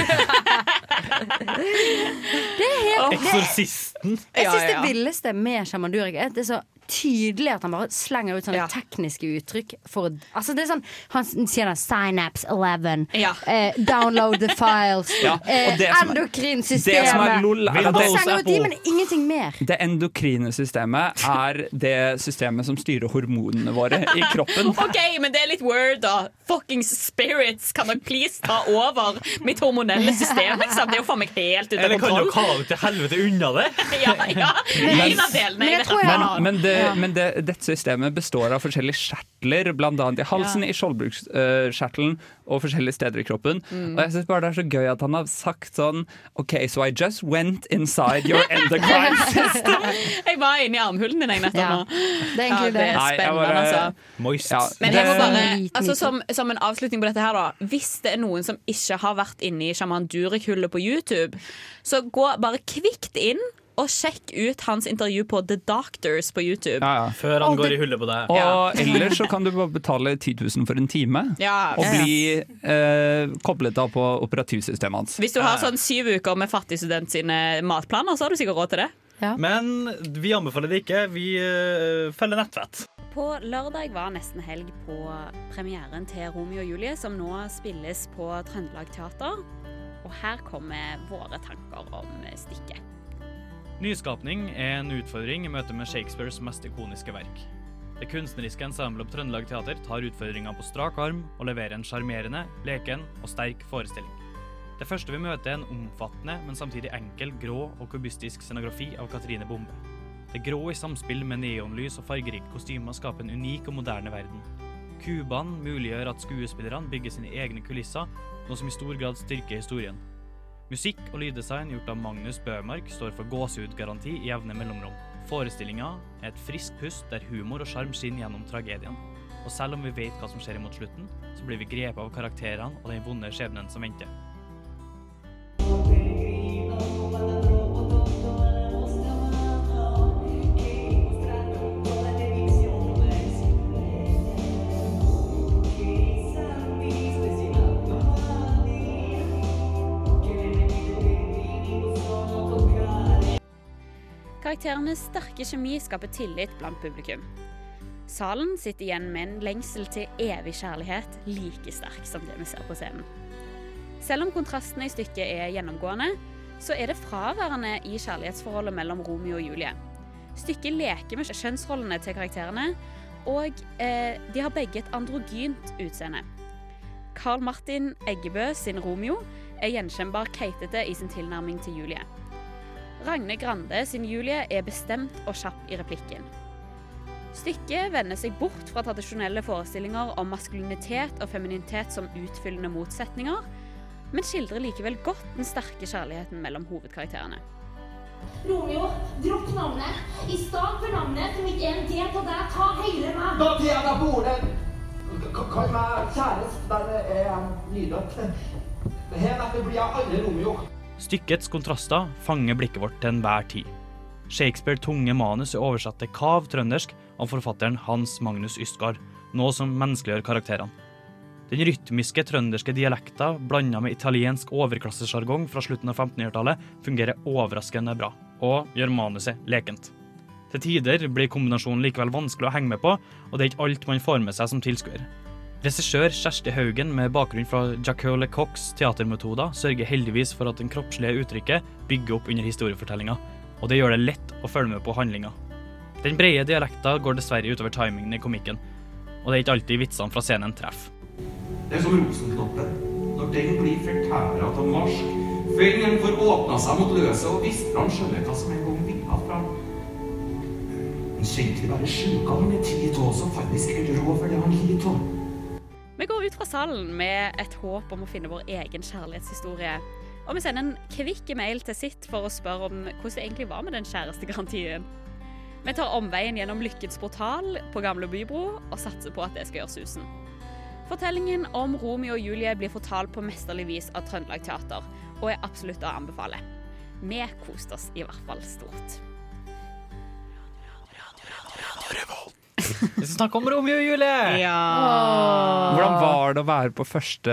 Det er helt
Eksorsisten.
Jeg syns det villeste med Shaman Durek er at det er så tydelig at han bare slenger ut sånne tekniske uttrykk. For, å- altså det er sånn, han s- sier da 'Synapse 11', eh, 'Download the files',
Ja, og
eh,
det som er-
endokrinsystemet
det som er lol, er at
Han
det-
slenger ut de, men ingenting mer.
Det endokrine systemet er det systemet som styrer hormonene våre i kroppen.
OK, men det er litt word, da. Fuckings spirits, kan dere please ta over mitt hormonelle system? Liksom? Det er jo faen meg helt ute av
Eller kan
kontroll.
du kave til helvete unna det?
Ja, ja. Det er en av delene. i dette.
Men, men, det, men det, dette systemet består av forskjellige skjertler, bl.a. i halsen,
Ja.
i skjoldbruksskjertelen og forskjellige steder i kroppen.
Mm.
Og jeg syns bare det er så gøy at han har sagt sånn OK, so I just went inside your endocrine system.
jeg var inni armhulen din jeg, nettopp
Ja.
nå.
Det er egentlig
Ja, det er
Nei, jeg
spennende,
bare-
altså.
Moist.
Men jeg må bare, altså som, som en avslutning på dette her da Hvis det er noen som ikke har vært inne i Shaman Durek-hullet på YouTube Så gå bare kvikt inn Og sjekk ut hans intervju på The Doctors på YouTube
Før han går i hullet på deg.
Og ellers så kan du bare betale 10 000 for en time
Ja.
og bli eh, koblet av på operativsystemet hans.
Hvis du har sånn syv uker med fattig student sine matplaner Så har du sikkert råd til det
Men vi anbefaler det ikke. Vi øh, følger nettvett.
På lørdag var nesten helg på premieren til Romeo og Julie, som nå spilles på Trøndelag Teater. Og her kommer våre tanker om stykket.
Nyskapning er en utfordring i møte med Shakespeares mest ikoniske verk. Det kunstneriske ensemblet på Trøndelag Teater tar utfordringa på strak arm og leverer en sjarmerende, leken og sterk forestilling. Det første vi møter, er en omfattende, men samtidig enkel, grå og kubistisk scenografi av Katrine Bombe. Det grå i samspill med neonlys og fargerike kostymer skaper en unik og moderne verden. Kubene muliggjør at skuespillerne bygger sine egne kulisser, noe som i stor grad styrker historien. Musikk og lyddesign gjort av Magnus Bøhmark står for gåsehudgaranti i jevne mellomrom. Forestillinga er et friskt pust der humor og sjarm skinner gjennom tragedien. Og selv om vi vet hva som skjer mot slutten, så blir vi grepet av karakterene og den vonde skjebnen som venter.
Karakterenes sterke kjemi skaper tillit blant publikum. Salen sitter igjen med en lengsel til evig kjærlighet like sterk som det vi ser på scenen. Selv om kontrastene i stykket er gjennomgående,
så er det fraværende i kjærlighetsforholdet mellom Romeo og Julie. Stykket leker med kjønnsrollene til karakterene, og eh, de har begge et androgynt utseende. Carl Martin Eggebø sin Romeo er gjenkjennbar keitete i sin tilnærming til Julie. Ragne Grande sin Julie er bestemt og kjapp i replikken. Stykket vender seg bort fra tradisjonelle forestillinger om maskulinitet og femininitet som utfyllende motsetninger, men skildrer likevel godt den sterke kjærligheten mellom hovedkarakterene.
Romeo, dropp navnet. I stedet for navnet som ikke er en del av deg, ta hele meg.
Da tjener jeg bordet. Kall meg kjæresten. Der er jeg nydelig. Heretter blir jeg aldri Romeo.
Stykkets kontraster fanger blikket vårt til enhver tid. Shakespeare tunge manus er oversatt til kav trøndersk av forfatteren Hans Magnus Ystgard, noe som menneskeliggjør karakterene. Den rytmiske trønderske dialekta blanda med italiensk overklassesjargong fra slutten av 1500-tallet fungerer overraskende bra, og gjør manuset lekent. Til tider blir kombinasjonen likevel vanskelig å henge med på, og det er ikke alt man får med seg som tilskuer. Regissør Kjersti Haugen med bakgrunn fra Jacqueline Lecocqs teatermetoder sørger heldigvis for at det kroppslige uttrykket bygger opp under historiefortellinga, og det gjør det lett å følge med på handlinga. Den brede dialekta går dessverre utover timingen i komikken, og det er ikke alltid vitsene fra scenen treffer.
Det er som rosenknoppen. Når den blir fortæra av marsk, føyen får åpna seg mot løset og vist fram skjønnheten som en gang villa fram. Men kjente vi bare sjukene med ti tå, som faktisk er rå for det han lider av.
Vi går ut fra salen med et håp om å finne vår egen kjærlighetshistorie. Og vi sender en kvikk mail til sitt for å spørre om hvordan det egentlig var med den kjærestegarantien. Vi tar omveien gjennom Lykkens portal på Gamle Bybro og satser på at det skal gjøre susen. Fortellingen om Romeo og Julie blir fortalt på mesterlig vis av Trøndelag Teater, og er absolutt å anbefale. Vi koste oss i hvert fall stort.
Vi skal snakke om Romeo og Julie!
Ja.
Hvordan var det å være på første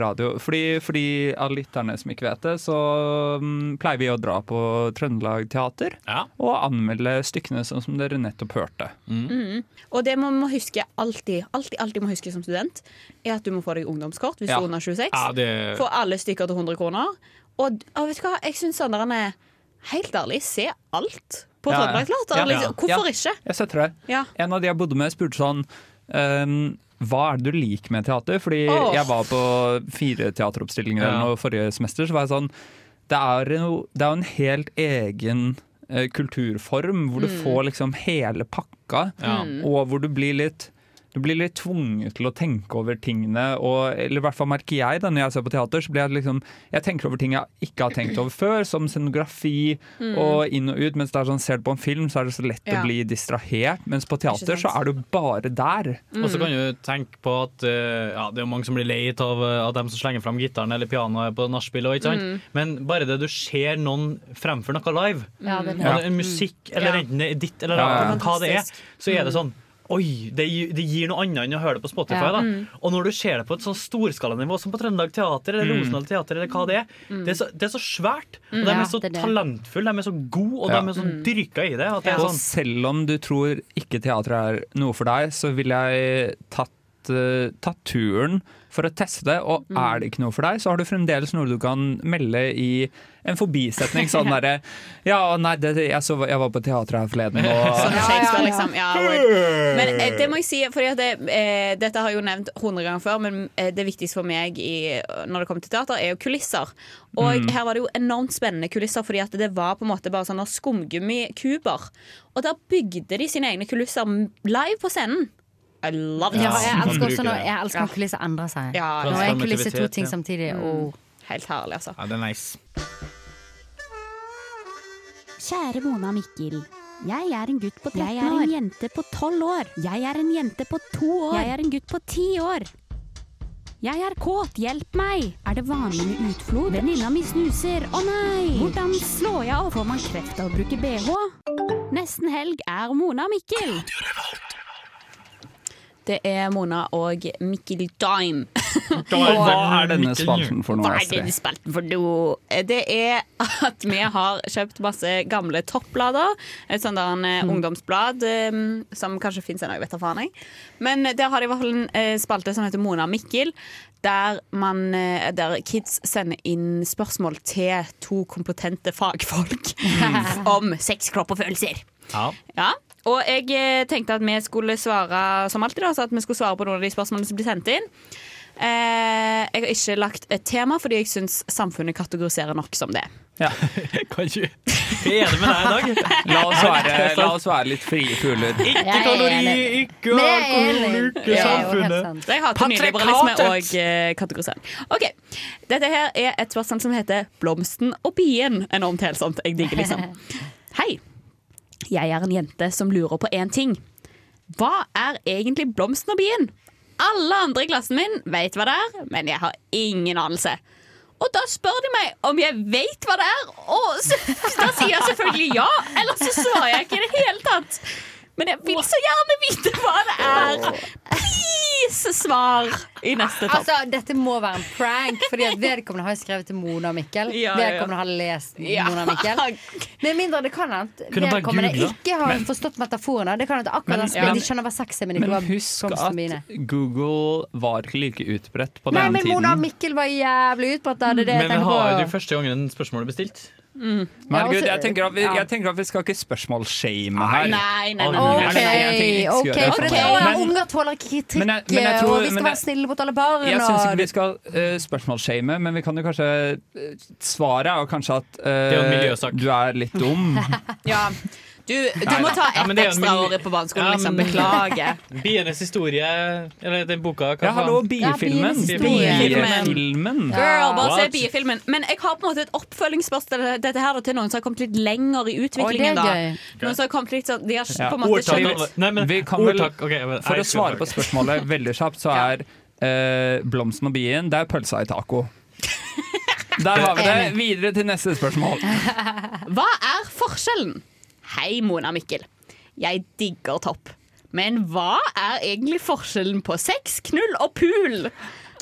radio? Fordi, fordi av lytterne som ikke vet det, så mm, pleier vi å dra på Trøndelag Teater og anmelde stykkene sånn som dere nettopp hørte.
Mm. Og det man må huske alltid, alltid, alltid må huske som student, er at du må få deg ungdomskort hvis
Ja.
du er under 26.
Ja, det-
Få alle stykker til 100 kroner. Og ja, vet du hva, jeg sånn syns søndagene Helt ærlig, se alt på
Ja, ja.
Trøndelag Teater.
Ja.
Liksom, hvorfor
Ja.
ikke?
Jeg setter det.
Ja.
En av de jeg bodde med, spurte sånn ehm, hva er det du liker med teater? Fordi
Åh.
jeg var på fire teateroppstillinger
Ja.
eller noe forrige semester. Så var jeg sånn Det er jo det er jo en helt egen eh, kulturform, hvor du
Mm.
får liksom hele pakka.
Ja. Mm.
Og hvor du blir litt du blir litt tvunget til å tenke over tingene, og, eller i hvert fall merker jeg det når jeg ser på teater, så blir jeg liksom Jeg tenker over ting jeg ikke har tenkt over før, som scenografi
Mm.
og inn og ut, mens det er sånn, ser du på en film, så er det så lett
Ja.
å bli distrahert, mens på teater
Ikke sant?
så er du bare der.
Og så kan du tenke på at eh, ja, det er jo mange som blir lei av, eh, av dem som slenger fram gitaren eller pianoet på nachspiel. og ikke sant?
Mm.
Men bare det du ser noen fremfor noe live,
Ja, det er det.
ja, det er musikk eller
Ja.
enten det er ditt eller
Ja, ja.
annet, hva det er,
Fantastisk.
så er det
Mm.
sånn Oi, det, gi- det gir noe annet enn å høre det på Spotify.
Ja.
da.
Mm.
Og når du ser det på et sånn storskalanivå som på Trøndelag Teater eller
Mm.
Rosendal Teater, eller hva det er,
Mm.
det er så, det er så svært. Og
Mm.
de
Ja,
er så
det er det.
talentfulle, de er så gode, og
Ja.
de er så
Mm.
dyrka i det. At det er
Og
sånn,
selv om du tror ikke teater er noe for deg, så vil jeg tatt, eh, tatt turen for å teste det, og
Mm.
er det ikke noe for deg, så har du fremdeles noe du kan melde i en forbisetning. Sånn derre Ja, nei, det, jeg, så, jeg var på teatret her forleden,
Sånn
og
Shakespeare, liksom. Ja, word. Men eh, det må jeg si, fordi at det, eh, dette har jeg jo nevnt 100 ganger før, men eh, det viktigste for meg i, når det kommer til teater, er jo kulisser. Og
Mm.
her var det jo enormt spennende kulisser, fordi at det var på en måte bare sånne skumgummikuber. Og der bygde de sine egne kulisser live på scenen. I love it.
Ja, jeg elsker også når, jeg elsker når kulisser endrer seg.
Ja,
Nå er
ja.
kulisse to ting
Ja.
samtidig. oh. Og
Helt herlig, altså.
Ja, det er nice.
Kjære Mona og Mikkel. Jeg er en gutt på 13
Jeg
år.
er en
jente på 12 år. Jeg er en jente på 2 år. Jeg er en gutt på 10 år. Jeg er kåt, hjelp meg! Er det vanlig med utflod? Venninna mi snuser, å nei! Hvordan slår jeg av? Får man kreft av å bruke bh? Nesten helg er Mona og Mikkel. Det er Mona og Mikkel Dime.
Hva er denne spalten for noe,
Hva er
Astrid?
denne spalten for noe? Det er at vi har kjøpt masse gamle toppblader. Et sånt der en eh,
Mm.
ungdomsblad eh, som kanskje fins ennå, jeg vet da faen jeg. Men der har de i hvert fall en eh, spalte som heter Mona og Mikkel. Der, man, eh, der kids sender inn spørsmål til to kompetente fagfolk
Mm.
om sex, kropp og følelser.
Ja.
Ja, og jeg eh, tenkte at vi skulle svare som alltid, da, så at vi skulle svare på noen av de spørsmålene som blir sendt inn. Eh, jeg har ikke lagt et tema fordi jeg syns samfunnet kategoriserer nok som det.
Kan ikke Jeg er enig med deg i dag.
La oss være, la oss være litt frie fugler.
Ikke kalori, ikke
Men jeg er
alkohol,
enig.
ikke
Ja,
samfunnet.
Så jeg hater nyliberalisme og eh, kategorisering. Ok, Dette her er et spørsmål som heter 'Blomsten og bien'. Enormt helsomt. Jeg digger liksom. Hei. Jeg er en jente som lurer på én ting. Hva er egentlig blomsten og bien? Alle andre i klassen min vet hva det er, men jeg har ingen anelse. Og da spør de meg om jeg vet hva det er, og så, da sier jeg selvfølgelig ja. Eller så svarer jeg ikke i det hele tatt. Men jeg vil så gjerne vite hva det er. Please, svar i neste topp.
Altså, dette må være en prank, Fordi at vedkommende har jo skrevet til Mona og Mikkel.
Ja, ja, ja.
Vedkommende har lest
Ja.
Mona og Mikkel. Med mindre det kan at
Kunne bare
vedkommende
googlet.
ikke har
Men-
forstått metaforene. Det kan at akkurat
Men-
han spiller,
ja.
de skjønner hva sex er, men ikke
Men
hva
husk
blomstene mine.
at Google var ikke like utbredt på
Nei,
den
men Mona og
tiden.
Mikkel var jævlig utbredt. Det er det
Men
jeg
vi
tenker på.
har jo første gangen spørsmålet bestilt.
Mm.
Men
Ja, og
herregud,
så-
jeg tenker at vi,
ja.
jeg tenker at vi skal ikke spørsmålshame her.
Nei, nei, nei, nei.
Alle- det er en ting jeg
Ok,
ikke
ok,
skal gjøre.
for det er jo
Men-
unger tåler ikke kritikk, eh,
Men jeg- men jeg tror-
og vi skal
men
være
jeg-
snille mot alle barn.
Jeg syns ikke
og-
vi skal eh, spørsmålshame, men vi kan jo kanskje eh, Svaret er jo kanskje at eh,
Det er jo en miljøsak.
du er litt dum.
Ja. Du, du må ta
Ja, men
ett
det er jo en
ekstra
mil-
år på barneskolen,
Ja,
liksom.
men-
Beklager.
Bienes historie, eller den boka hva
Ja, hallo,
faen?
biefilmen.
Ja,
Biefilmen.
Biefilmen.
Biefilmen.
Girl, bare se
What?
biefilmen. Men jeg har på en måte et oppfølgingsspørsmål til dette her, da, til noen som har kommet litt lenger i utviklingen.
Å, det er
da.
gøy.
Noen som har kommet litt sånn, De har
Ja.
på en måte skjønt
Vi- vi kan vel,
ordtak, ok, men-
for
nei,
å svare på spørsmålet veldig kjapt, så er eh, blomsten og bien det er pølsa i taco. Der har vi det. Videre til neste spørsmål.
Hva er forskjellen? Hei, Mona Mikkel. Jeg digger topp. Men hva er egentlig forskjellen på sex, knull og pool?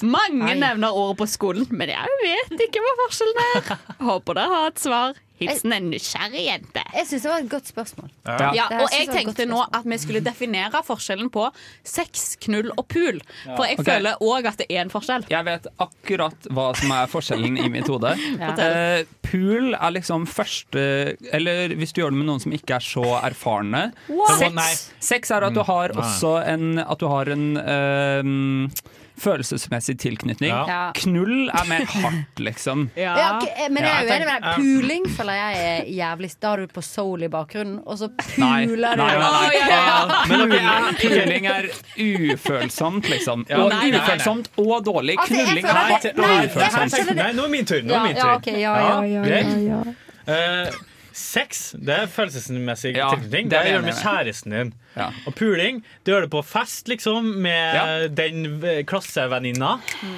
Mange nevner ordet på skolen, men jeg vet ikke hva forskjellen er. Håper dere har et svar. Hilsen en nysgjerrig jente.
Jeg syns det var et godt spørsmål.
Ja. og jeg
Det her synes
tenkte
jeg
nå at vi skulle definere forskjellen på sex, knull og pool.
Ja.
For jeg
Ok.
føler òg at det er en forskjell.
Jeg vet akkurat hva som er forskjellen i mitt hode.
Ja.
Eh, pool er liksom første Eller hvis du gjør det med noen som ikke er så erfarne.
What? Å, nei.
Sex, sex er at du har
Mm. Nei.
også en At du har en eh, følelsesmessig tilknytning.
Ja.
Ja.
Knull er mer hardt, liksom.
Ja, ok, eh, men jeg er
Ja,
jo enig med
tenk-
deg. Puling føler jeg er jævlig Da har du på soul i bakgrunnen, og så
Nei,
puler du.
nei, nei, Ah,
Å, ja, ja.
nei.
Men ok,
Puling- Puling er ufølsomt, liksom.
Ja,
Og
nei, nei, nei.
ufølsomt og dårlig.
Altså, jeg
Knulling
føler
er
at det- nei, det her
ufølsomt.
skjønner
Nei, nå er min tur. Nå
Ja,
er min tur.
ja, ok, ja, ja, ja, ja,
greit.
ja.
Eh, sex det er følelsesmessig
Ja,
tilknytning.
det
Det
er jeg
gjør du
enig
med kjæresten din. Og puling det gjør du på fest, liksom, med den v- klassevenninna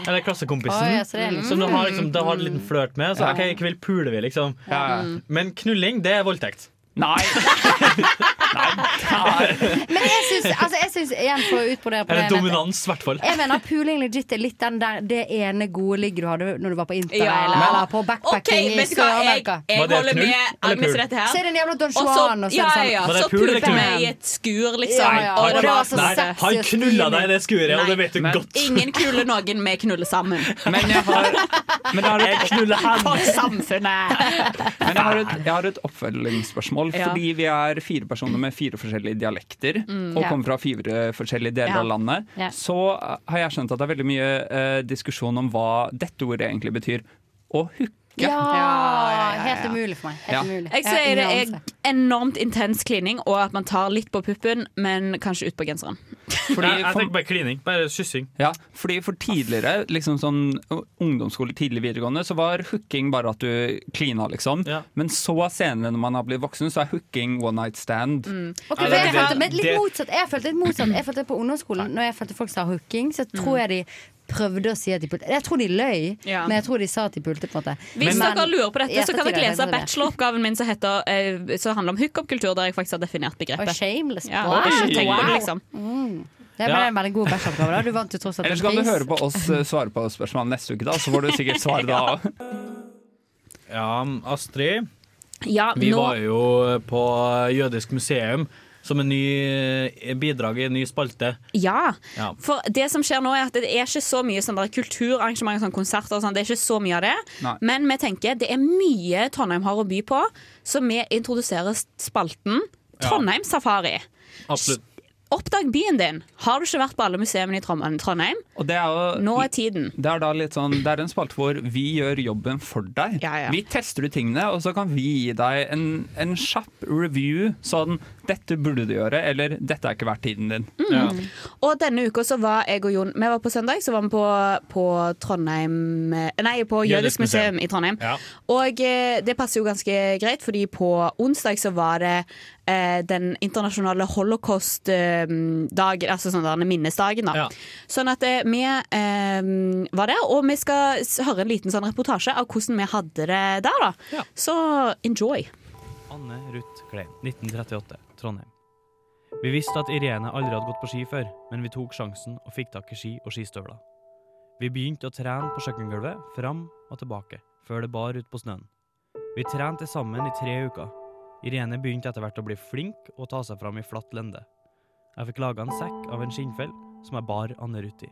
eller klassekompisen.
Oi, Mm. ja, så det er Mm. litt-
Som du har, liksom, du har en liten flørt med. Så
Ja.
OK, i kveld puler vi, liksom.
Ja,
Mm.
ja.
Men knulling, det er voldtekt.
Nei!
Men jeg syns, altså, jeg syns igjen for å utbrodere på det
Eller
jeg mente-
dominans, i hvert fall.
Jeg mener puling legit er litt den der det ene gode ligget du hadde når du var på interrail
Ja.
eller på backpacking
Ok, vet
i
du hva, jeg,
Sør-Amerika.
jeg
Var det
holder
knull,
med
eller
Agnes i
pul?
dette her.
Så er det en jævla Don
Og så-
Juan, og så er
ja,
det
ja,
sånn-
ja,
Var det
så
pul eller
pulte
knull?
vi i et skur, liksom.
Ja, ja,
Og
og det var så
Nei,
sexy
han
og
knulla
stilig.
deg i det skuret, og det vet du
Men-
godt.
Ingen kuler noen, vi knuller sammen.
Men jeg har, men jeg har et
Jeg knuller
For
henne.
samfunnet!
Men jeg har et, jeg har et oppfølgingsspørsmål.
Ja.
Fordi vi er fire personer med fire forskjellige dialekter,
Mm.
og
Ja.
kommer fra fire forskjellige deler
Ja.
av landet,
Ja.
så eh, har jeg skjønt at det er veldig mye eh, diskusjon om hva dette ordet egentlig betyr. Å hooke.
Ja,
ja, ja,
Helt
ja.
umulig for meg. Helt
Ja.
umulig.
Jeg
har
sier det
ingen
er
anelse.
enormt intens klining, og at man tar litt på puppen, men kanskje ut på genseren.
Fordi
jeg, jeg
for,
tenker bare klining. Bare kyssing.
ja, fordi for tidligere, liksom sånn ungdomsskole, tidlig videregående, så var hooking bare at du klina, liksom. Men så senere, når man har blitt voksen, så er hooking one night stand.
Mm.
Ok, for jeg følte, men litt motsatt. Jeg følte litt motsatt. Jeg følte på ungdomsskolen, når jeg følte folk sa hooking, så
Mm.
tror jeg de prøvde å si at de pulte. Jeg tror de løy,
Ja.
men jeg tror de sa at de pulte, på en måte.
Hvis
Men-
dere lurer på dette, så kan
i
dere
ettertid har jeg
lese
tenkt meg det.
bacheloroppgaven min som, heter, eh, som handler om hookup-kultur, der jeg faktisk har definert begrepet.
Og shameless
Ja,
Wow.
og ikke tenk på det,
Wow.
liksom.
Mm.
Det ble en veldig god bæsjeoppgave. da. Du vant jo tross alt
Eller
en
så kan du
pris.
høre på oss eh, svare på spørsmål neste uke, da, så får du sikkert svar da òg.
Ja, Astrid.
Ja,
Vi
nå-
var jo på Jødisk museum som en ny eh, bidrag i en ny spalte.
Ja.
Ja.
For det som skjer nå er at det er ikke så mye sånn der kulturarrangementer, sånn konserter og sånn. Det er ikke så mye av det.
Nei.
Men vi tenker det er mye Trondheim har å by på, så vi introduserer spalten Trondheim Safari.
Absolutt.
Oppdag byen din. Har du ikke vært på alle museene i Trondheim? Trondheim?
Og det er jo,
Nå er tiden.
Det er da litt sånn, det er en spalte hvor vi gjør jobben for deg. Vi tester ut tingene, og så kan vi gi deg en, en kjapp review. Sånn 'Dette burde du gjøre', eller 'Dette er ikke verdt tiden din'.
Mm. Og denne uka så var jeg og Jon Vi var på søndag, så var vi på, på Trondheim eh, Nei, på Jødisk museum i Trondheim. Og eh, det passer jo ganske greit, fordi på onsdag så var det eh, den internasjonale holocaust-dagen, altså sånn der, minnesdagen, da. Sånn at eh, vi eh, var der, og vi skal s- høre en liten sånn reportasje av hvordan vi hadde det der, da. Så enjoy.
Anne Ruth Klein, 1938, Trondheim. Vi visste at Irene aldri hadde gått på ski før, men vi tok sjansen og fikk tak i ski og skistøvler. Vi begynte å trene på kjøkkengulvet, fram og tilbake, før det bar ut på snøen. Vi trente sammen i tre uker. Irene begynte etter hvert å bli flink og ta seg fram i flatt lende. Jeg fikk laga en sekk av en skinnfell som jeg bar Anne Ruth i.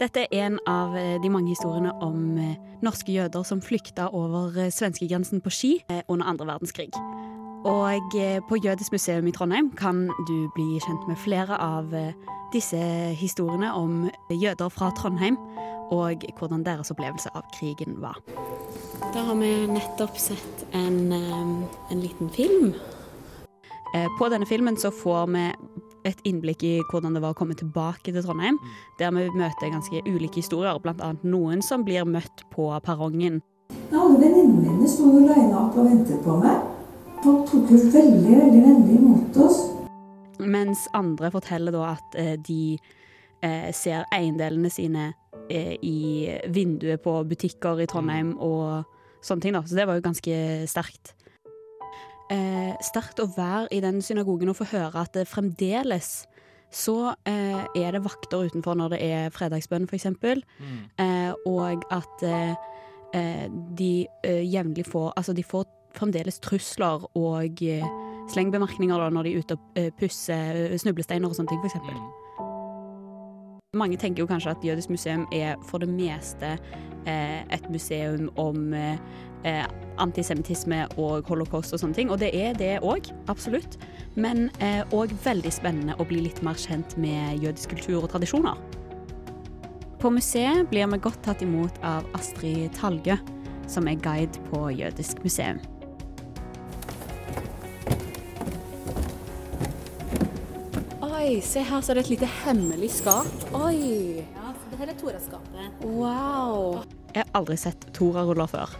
Dette er en av eh, de mange historiene om eh, norske jøder som flykta over eh, svenskegrensen på ski eh, under andre verdenskrig. Og eh, på Jødisk museum i Trondheim kan du bli kjent med flere av eh, disse historiene om jøder fra Trondheim, og hvordan deres opplevelse av krigen var.
Da har vi nettopp sett en, eh, en liten film.
Eh, På denne filmen så får vi et innblikk i hvordan det var å komme tilbake til Trondheim. Der vi møter ganske ulike historier, bl.a. noen som blir møtt på perrongen.
Ja, alle venninnene mine sto jo lina opp og ventet på meg. Folk tok jo veldig, veldig vennlig imot oss.
Mens andre forteller da at eh, de eh, ser eiendelene sine eh, i vinduet på butikker i Trondheim og sånne ting. da. Så det var jo ganske sterkt. Eh, sterkt å være i den synagogen og få høre at det fremdeles så eh, er det vakter utenfor når det er fredagsbønn, f.eks.
Mm.
Eh, og at eh, eh, de eh, jevnlig får Altså, de får fremdeles trusler og eh, slengbemerkninger da, når de er ute og eh, pusser eh, snublesteiner og sånne ting, f.eks. eksempel Mange tenker jo kanskje at Jødisk museum er for det meste eh, et museum om eh, eh, antisemittisme og holocaust og sånne ting, og det er det òg, absolutt. Men òg veldig spennende å bli litt mer kjent med jødisk kultur og tradisjoner. På museet blir vi godt tatt imot av Astrid Talgø, som er guide på Jødisk museum.
Oi, se her så er det et lite hemmelig skap. Oi!
Ja, så det her er Toraskapet.
Wow!
Jeg har aldri sett Tora-ruller før.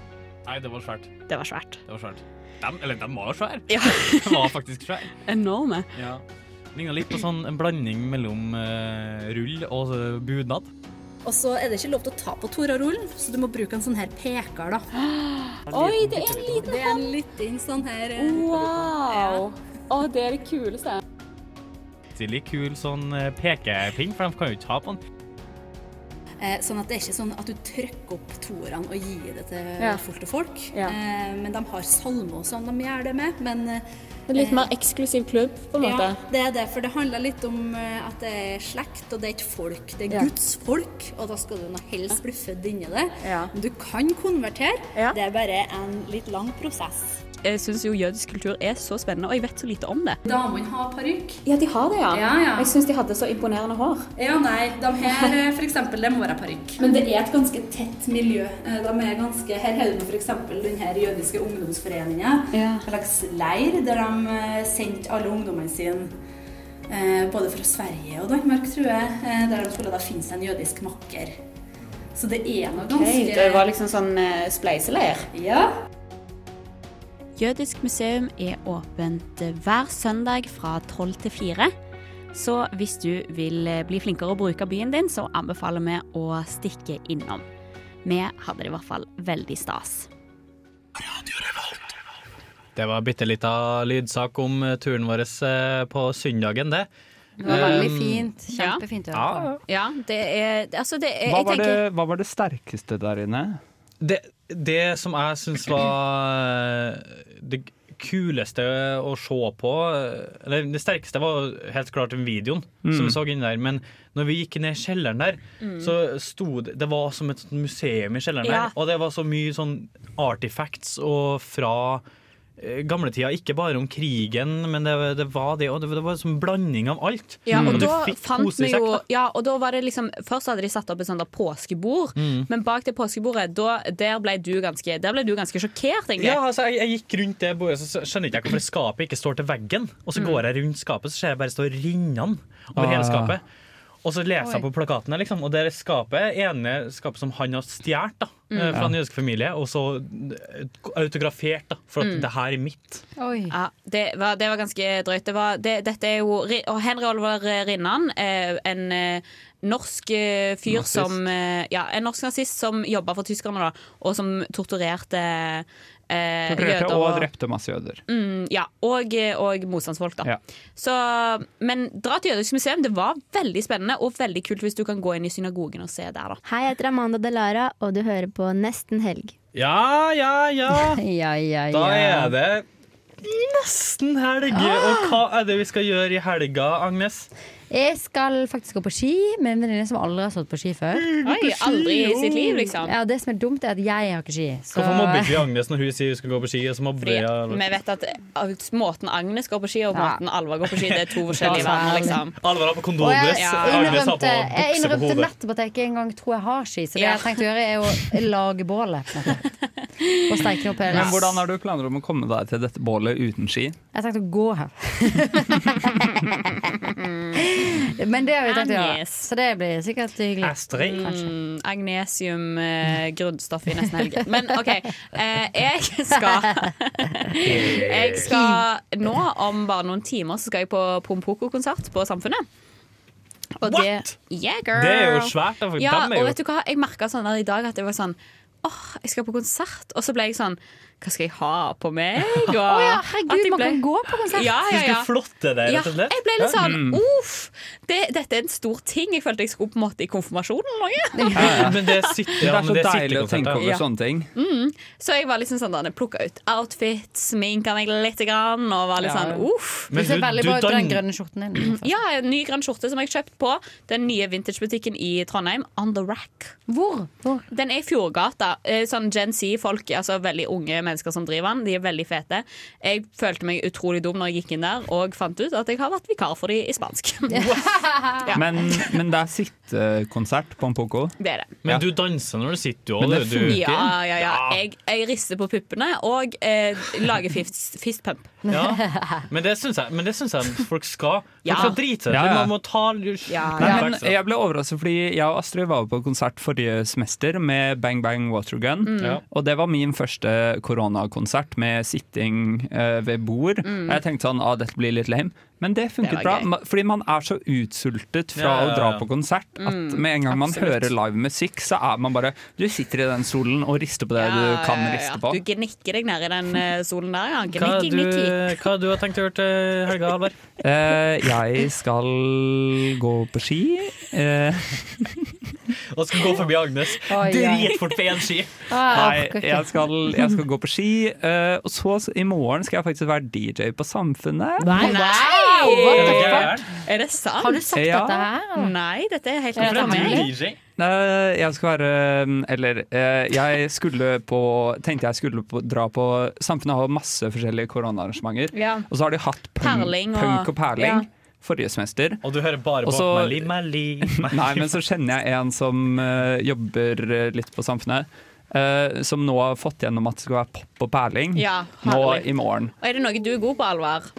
Nei, det var svært.
Det var svært.
Det var svært. Dem, eller, de var svære. De var faktisk svære.
Enorme.
Ja. Ligna litt på sånn en blanding mellom eh, rull og eh, bunad.
Og så er det ikke lov til å ta på Tora-rullen, så du må bruke en sånn her peker, da.
Oi, det er en liten
Det er en liten sånn her eh,
Wow! Å, det er det kuleste.
Stilig kul sånn eh, pekepinn, for de kan jo ikke ha på den.
Eh, Sånn at det er ikke sånn at du trykker opp toraen og gir det til
Ja.
folk til folk.
Ja.
Eh, Men de har salmer og sånn de gjør det med. Men eh,
En litt mer eksklusiv klubb, på en måte.
Ja, det er det. For det handler litt om eh, at det er slekt, og det er ikke folk. Det er
Ja.
Guds folk, og da skal du nå helst bli født inni det. Men du kan konvertere. Det er bare en litt lang prosess.
Jeg syns jo jødisk kultur er så spennende, og jeg vet så lite om det.
Damene har parykk.
Ja, de har det, ja.
Ja, ja.
Jeg syns de hadde så imponerende hår.
Ja, nei, de her eh, for eksempel, de må være parykk. Men det er et ganske tett miljø. Eh, De er ganske, her har du for eksempel den her jødiske ungdomsforeningen, en slags leir der de eh, sendte alle ungdommene sine, eh, både fra Sverige og Danmark, tror jeg, eh, der de skulle da finne seg en jødisk makker. Så det er noe ganske...
liksom sånn spleiseleir?
Ja.
Jødisk museum er åpent hver søndag fra 12 til 4. Så hvis du vil eh, bli flinkere å bruke byen din, så anbefaler vi å stikke innom. Vi hadde det i hvert fall veldig stas.
Det var bitte lita lydsak om eh, turen vår eh, på søndagen, det.
Det var veldig
Um,
fint. Kjempefint å høre på.
Ja, det er Altså, det er
Hva
jeg
var,
tenker-
det, hva var det sterkeste der inne?
Det, det som jeg syns var eh, det kuleste å se på eh, Eller det sterkeste var helt klart den videoen
Mm.
som vi så inni der. Men når vi gikk ned i kjelleren der,
Mm.
så sto det Det var som et sånt museum i kjelleren
Ja.
der. Og det var så mye sånn artifacts og fra eh, gamletida, ikke bare om krigen, men det, det var det, og det, det var en sånn blanding av alt.
Ja, og
Og Mm. du
da
fikk
fant
kose i
vi
sekk,
jo
da.
ja, og da var det liksom, Først hadde de satt opp et sånt der påskebord,
Mm.
men bak det påskebordet, da, der, ble du ganske, der ble du ganske sjokkert, egentlig.
Ja, altså, jeg, jeg gikk rundt det bordet, så skjønner ikke jeg hvorfor skapet ikke står til veggen. Og så
Mm.
går jeg rundt skapet, så ser jeg bare det står rinner over hele
Ah.
skapet. Og så leser jeg
Oi.
på plakatene, liksom. Og det er skapet, ene skapet som han har stjålet da,
Mm.
eh, fra
Ja.
den jødiske familie, og så eh, autografert, da, for at
Mm.
det her er mitt.
Ja, det, var, det var ganske drøyt. Det var, det, dette er jo Ri- og Henry Oliver Rinnan, eh, en eh, norsk eh, fyr
Nazist.
som eh, Ja, en norsk nazist som jobba for tyskerne, da, og som torturerte eh,
Torturerte
jøder.
og drepte masse jøder.
Mm, ja, og, og motstandsfolk, da.
Ja.
Så, men dra til Jødisk museum. Det var veldig spennende og veldig kult hvis du kan gå inn i synagogen og se der, da.
Hei, jeg heter Amanda Delara, og du hører på Nesten helg.
Ja, ja, ja. Da er det nesten helg. Og hva er det vi skal gjøre i helga, Agnes?
Jeg skal faktisk gå på ski med en venninne som aldri har stått på ski før.
Oi, på ski, aldri i sitt liv, liksom.
Ja, Det som er dumt, er at jeg har ikke ski. så-
Hvorfor mobber ikke vi Agnes når hun sier hun skal gå på ski? Og så mobber
Fordi
jeg-
vi vet at eh, måten Agnes går på ski, og
Ja.
måten Alva går på ski, det er to forskjellige verdener, liksom.
Alvar har på
Og jeg
kondomdress, Agnes har på
innrømte, jeg
bukse på
innrømte
hodet.
nettopp at jeg ikke engang tror jeg har ski, så det
Ja.
jeg har tenkt å gjøre, er å lage bålet. på en måte. Og steike opp hele
Men hvordan har du planer om å komme deg til dette bålet uten ski?
Jeg tenkte å gå her. Men det har vi tenkt å gjøre.
Agnes.
Så det blir sikkert hyggelig. Kanskje.
Mm, agnesium, eh, grunnstoff i nesten helg. Men OK. Eh, jeg skal Jeg skal nå, om bare noen timer, så skal jeg på Pompoko-konsert på Samfunnet. Og
What?
Det, yeah, girl.
Det er jo svært, da, for
Ja,
dem er jo-
og vet du hva? Jeg merka sånn der i dag at jeg var sånn Åh, jeg skal på konsert. Og så ble jeg sånn Hva skal jeg ha på meg? Og,
Å ja, herregud,
at jeg
man kan gå på konsert.
Ja, ja, ja.
Du skulle flotte deg, rett og slett.
Ja, jeg ble litt
Ja.
sånn
Mm.
uff. Det, dette er en stor ting. Jeg følte jeg skulle på en måte i konfirmasjonen eller noe.
Men det sitter
Det
ja,
er
men
så
det
deilig å
sitter
tenke over
Ja.
sånne ting.
Mm. Så jeg var liksom sånn der, plukka ut outfit, sminka meg litt grann, og var litt
Ja.
sånn uff.
Du ser veldig bra ut i den grønne skjorten din.
Ja, en ny grønn skjorte som jeg kjøpte på den nye vintagebutikken i Trondheim, On The Rack.
Hvor?
Den er i Fjordgata. Eh, Sånn Gen Z-folk, altså veldig unge mennesker som driver den. De er veldig fete. Jeg følte meg utrolig dum når jeg gikk inn der og fant ut at jeg har vært vikar for dem i spansk. Ja.
Men, men det er sittekonsert på en poko.
Det er det.
Men du danser når du sitter, du
Men
òg.
det
Du,
funker.
Ja, ja, ja. Jeg, jeg rister på puppene og eh, lager fist, fistpump.
Ja. Men det syns jeg, men det syns jeg folk skal. Folk
Ja.
skal drite seg ut.
Ja, ja.
Man må ta
Nei,
altså.
men jeg ble overrasket fordi jeg og Astrid var på konsert forrige semester med Bang Bang Watergun.
Mm. Ja.
Og det var min første koronakonsert med sitting eh, ved bord.
Mm.
Og jeg tenkte sånn, ah, dette blir litt lame. Men det
Det
funket
var
bra,
gøy.
ma- fordi man er så utsultet fra
Ja, ja,
å dra
ja.
på konsert at
Mm,
med en gang man
absolutt.
hører live musikk, så er man bare Du sitter i den solen og rister på det du kan riste på.
Du gnikker deg ned i den eh, solen der, ja.
Hva
Gnikki,
du,
gnikki.
hva du har tenkt å gjøre til helga, Halvard?
Eh, jeg skal gå på ski. Eh,
Og skal gå forbi Agnes.
Oi, oi.
Dritfort på én ski!
Ah. Nei, jeg skal, jeg skal gå på ski. eh, og så s- i morgen skal jeg faktisk være DJ på Samfunnet.
Nei,
Wow, what the fuck?
Er det sant?
Har du sagt
Ja.
dette her? eller?
Nei, dette er helt
Er det
nytt for meg.
Nei, eh, jeg skal være mm, Eller eh, jeg skulle på Tenkte jeg skulle på, dra på Samfunnet har masse forskjellige koronaarrangementer.
Ja.
Og så har de hatt punk
Perling og-
punk og
ja.
perling forrige semester.
Og du hører bare på
Også-
Mali, Mali, Mali.
Nei, men så kjenner jeg en som eh, jobber eh, litt på samfunnet, eh, som nå har fått gjennom at det skal være pop og perling
Ja,
nå
herlig.
i morgen.
Og er det noe du er god på, Alvar?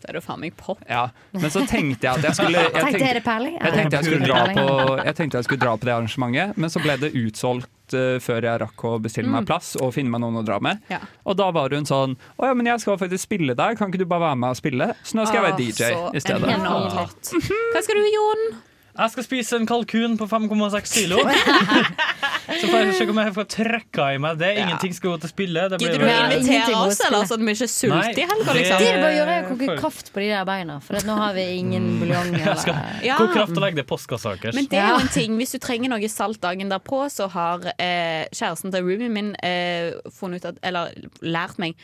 Så er det jo faen meg pop.
Ja, men så tenkte jeg at jeg skulle Jeg
Tenkte,
tenkte
er det perling?
jeg, tenkte jeg, skulle dra
Perling.
på, jeg tenkte jeg skulle dra på det arrangementet, men så ble det utsolgt eh, før jeg rakk å bestille meg
Mm.
plass og finne meg noen å dra med.
Ja.
Og da var hun sånn Å ja, men jeg skal faktisk spille der, kan ikke du bare være med og spille? Så nå skal
Ah,
jeg være DJ i stedet.
Enormt hot. Hva skal du, Jon?
Jeg skal spise en kalkun på 5,6 kilo. Så får jeg se om jeg får trøkka i meg det. Ingenting skal gå til spille. Det blir
Gidder du å
vel-
invitere oss, eller sånn vi ikke er
Nei,
sulte i helga,
det-
liksom?
Det du bør gjøre, er å koke
for-
kraft på de der beina, for at nå har vi ingen buljong.
Jeg skal
Ja.
koke kraft og legge det i postkasseakers.
Men det er jo en ting, hvis du trenger noe salt dagen derpå, så har eh, kjæresten til roomien min eh, funnet ut at, eller lært meg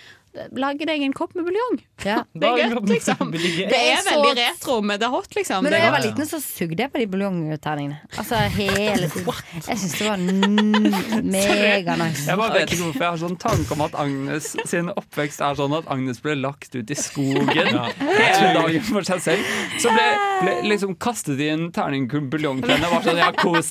Lage deg en kopp med buljong. Det er godt, liksom. Det er veldig retro, men det er hot, liksom. Det
Men da
er
jeg var
godt.
liten, så sugde jeg på de buljongterningene. Altså hele tiden. Jeg syns det var n- mega nice.
Jeg bare vet ikke hvorfor jeg har sånn tanke om at Agnes sin oppvekst er sånn at Agnes ble lagt ut i skogen
Ja.
hele dagen for seg selv. Så ble, ble liksom kastet i en terning buljongklenne. Var sånn, ja, kos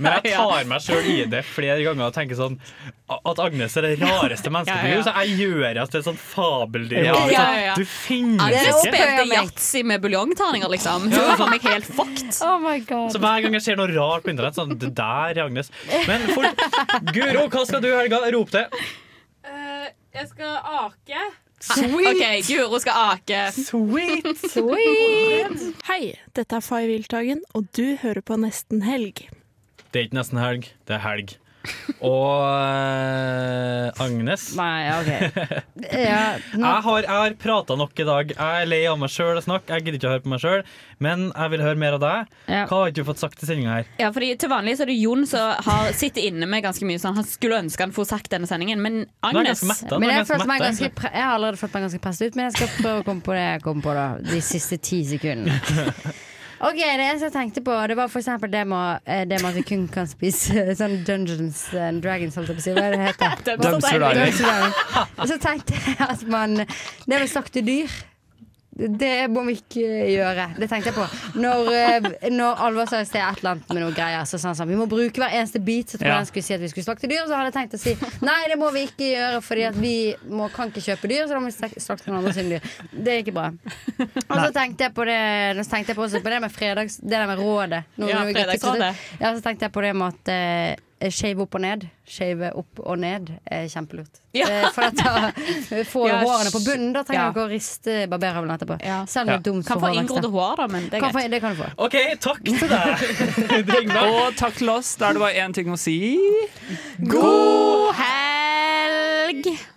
Men jeg tar meg sjøl i det flere ganger og tenker sånn at Agnes er det rareste mennesket på
Ja, ja.
jord. Så jeg gjør oss til et sånt fabeldyr.
Ja, ja, ja.
Du finnes
Agnes spilte
ikke!
yatzy med buljongterninger, liksom. Hun var for meg helt fucked.
Oh my god.
Så hver gang jeg ser noe rart på internett, sånn Det der er Agnes. Men fort. Guro, hva skal du i helga? Rop det.
Eh, jeg skal ake.
Sweet. Ok, Guro skal ake.
Sweet.
Sweet.
Hei, dette er Fay Wiltagen, og du hører på Nesten helg.
Det er ikke nesten helg, det er helg. Og eh, Agnes.
Nei, OK. Ja, nå-
Jeg har, jeg har prata nok i dag. Jeg er lei av meg sjøl å snakke. Jeg gidder ikke å høre på meg sjøl. Men jeg vil høre mer av deg. Hva har ikke du fått sagt i sendinga her?
Ja, fordi Til vanlig så er det Jon som har, sitter inne med ganske mye sånn Han skulle ønske han får sagt denne sendingen, men Agnes
Men jeg, følte meg ganske pre jeg har allerede følt meg ganske presset ut, men jeg skal prøve å komme på det jeg kom på da, de siste ti sekundene. Ok, Det eneste jeg tenkte på, det var for eksempel det med, eh, det med at vi kun kan spise sånn Dungeons and Dragons, holdt jeg på å si. Hva er det det heter
Dumpster Diving.
Dumpster Diving. Og så tenkte jeg at man Det med slakte dyr. Det må vi ikke gjøre. Det tenkte jeg på. Når, eh, når Alvar sa i sted et eller annet med noe greier, så sa han sånn Vi må bruke hver eneste bit. Så trodde
Ja.
jeg han skulle si at vi skulle slakte dyr. Og så hadde jeg tenkt å si nei, det må vi ikke gjøre, fordi at vi må, kan ikke kjøpe dyr. Så da må vi slak- slakte noen andre sine dyr. Det er ikke bra. Og så tenkte jeg på det Så tenkte jeg på også på det med fredags Det der med rådet. Nå-
Ja,
nå er vi godt
fredagsrådet.
tilbake. Ja, så tenkte jeg på det med at eh, Shave opp og ned. Shave opp og ned er kjempelurt.
Ja.
Eh, For at da får
Ja,
hårene på bunnen. Da trenger
ja.
du ikke å riste barberhavlen etterpå. Selv om det er dumt
Kan
for
få
hårvekst, da.
inngrodde hår, da, men det er
Kan få-
greit.
det kan du få.
OK, takk til deg.
Og takk til oss, der det var én ting å si.
God helg!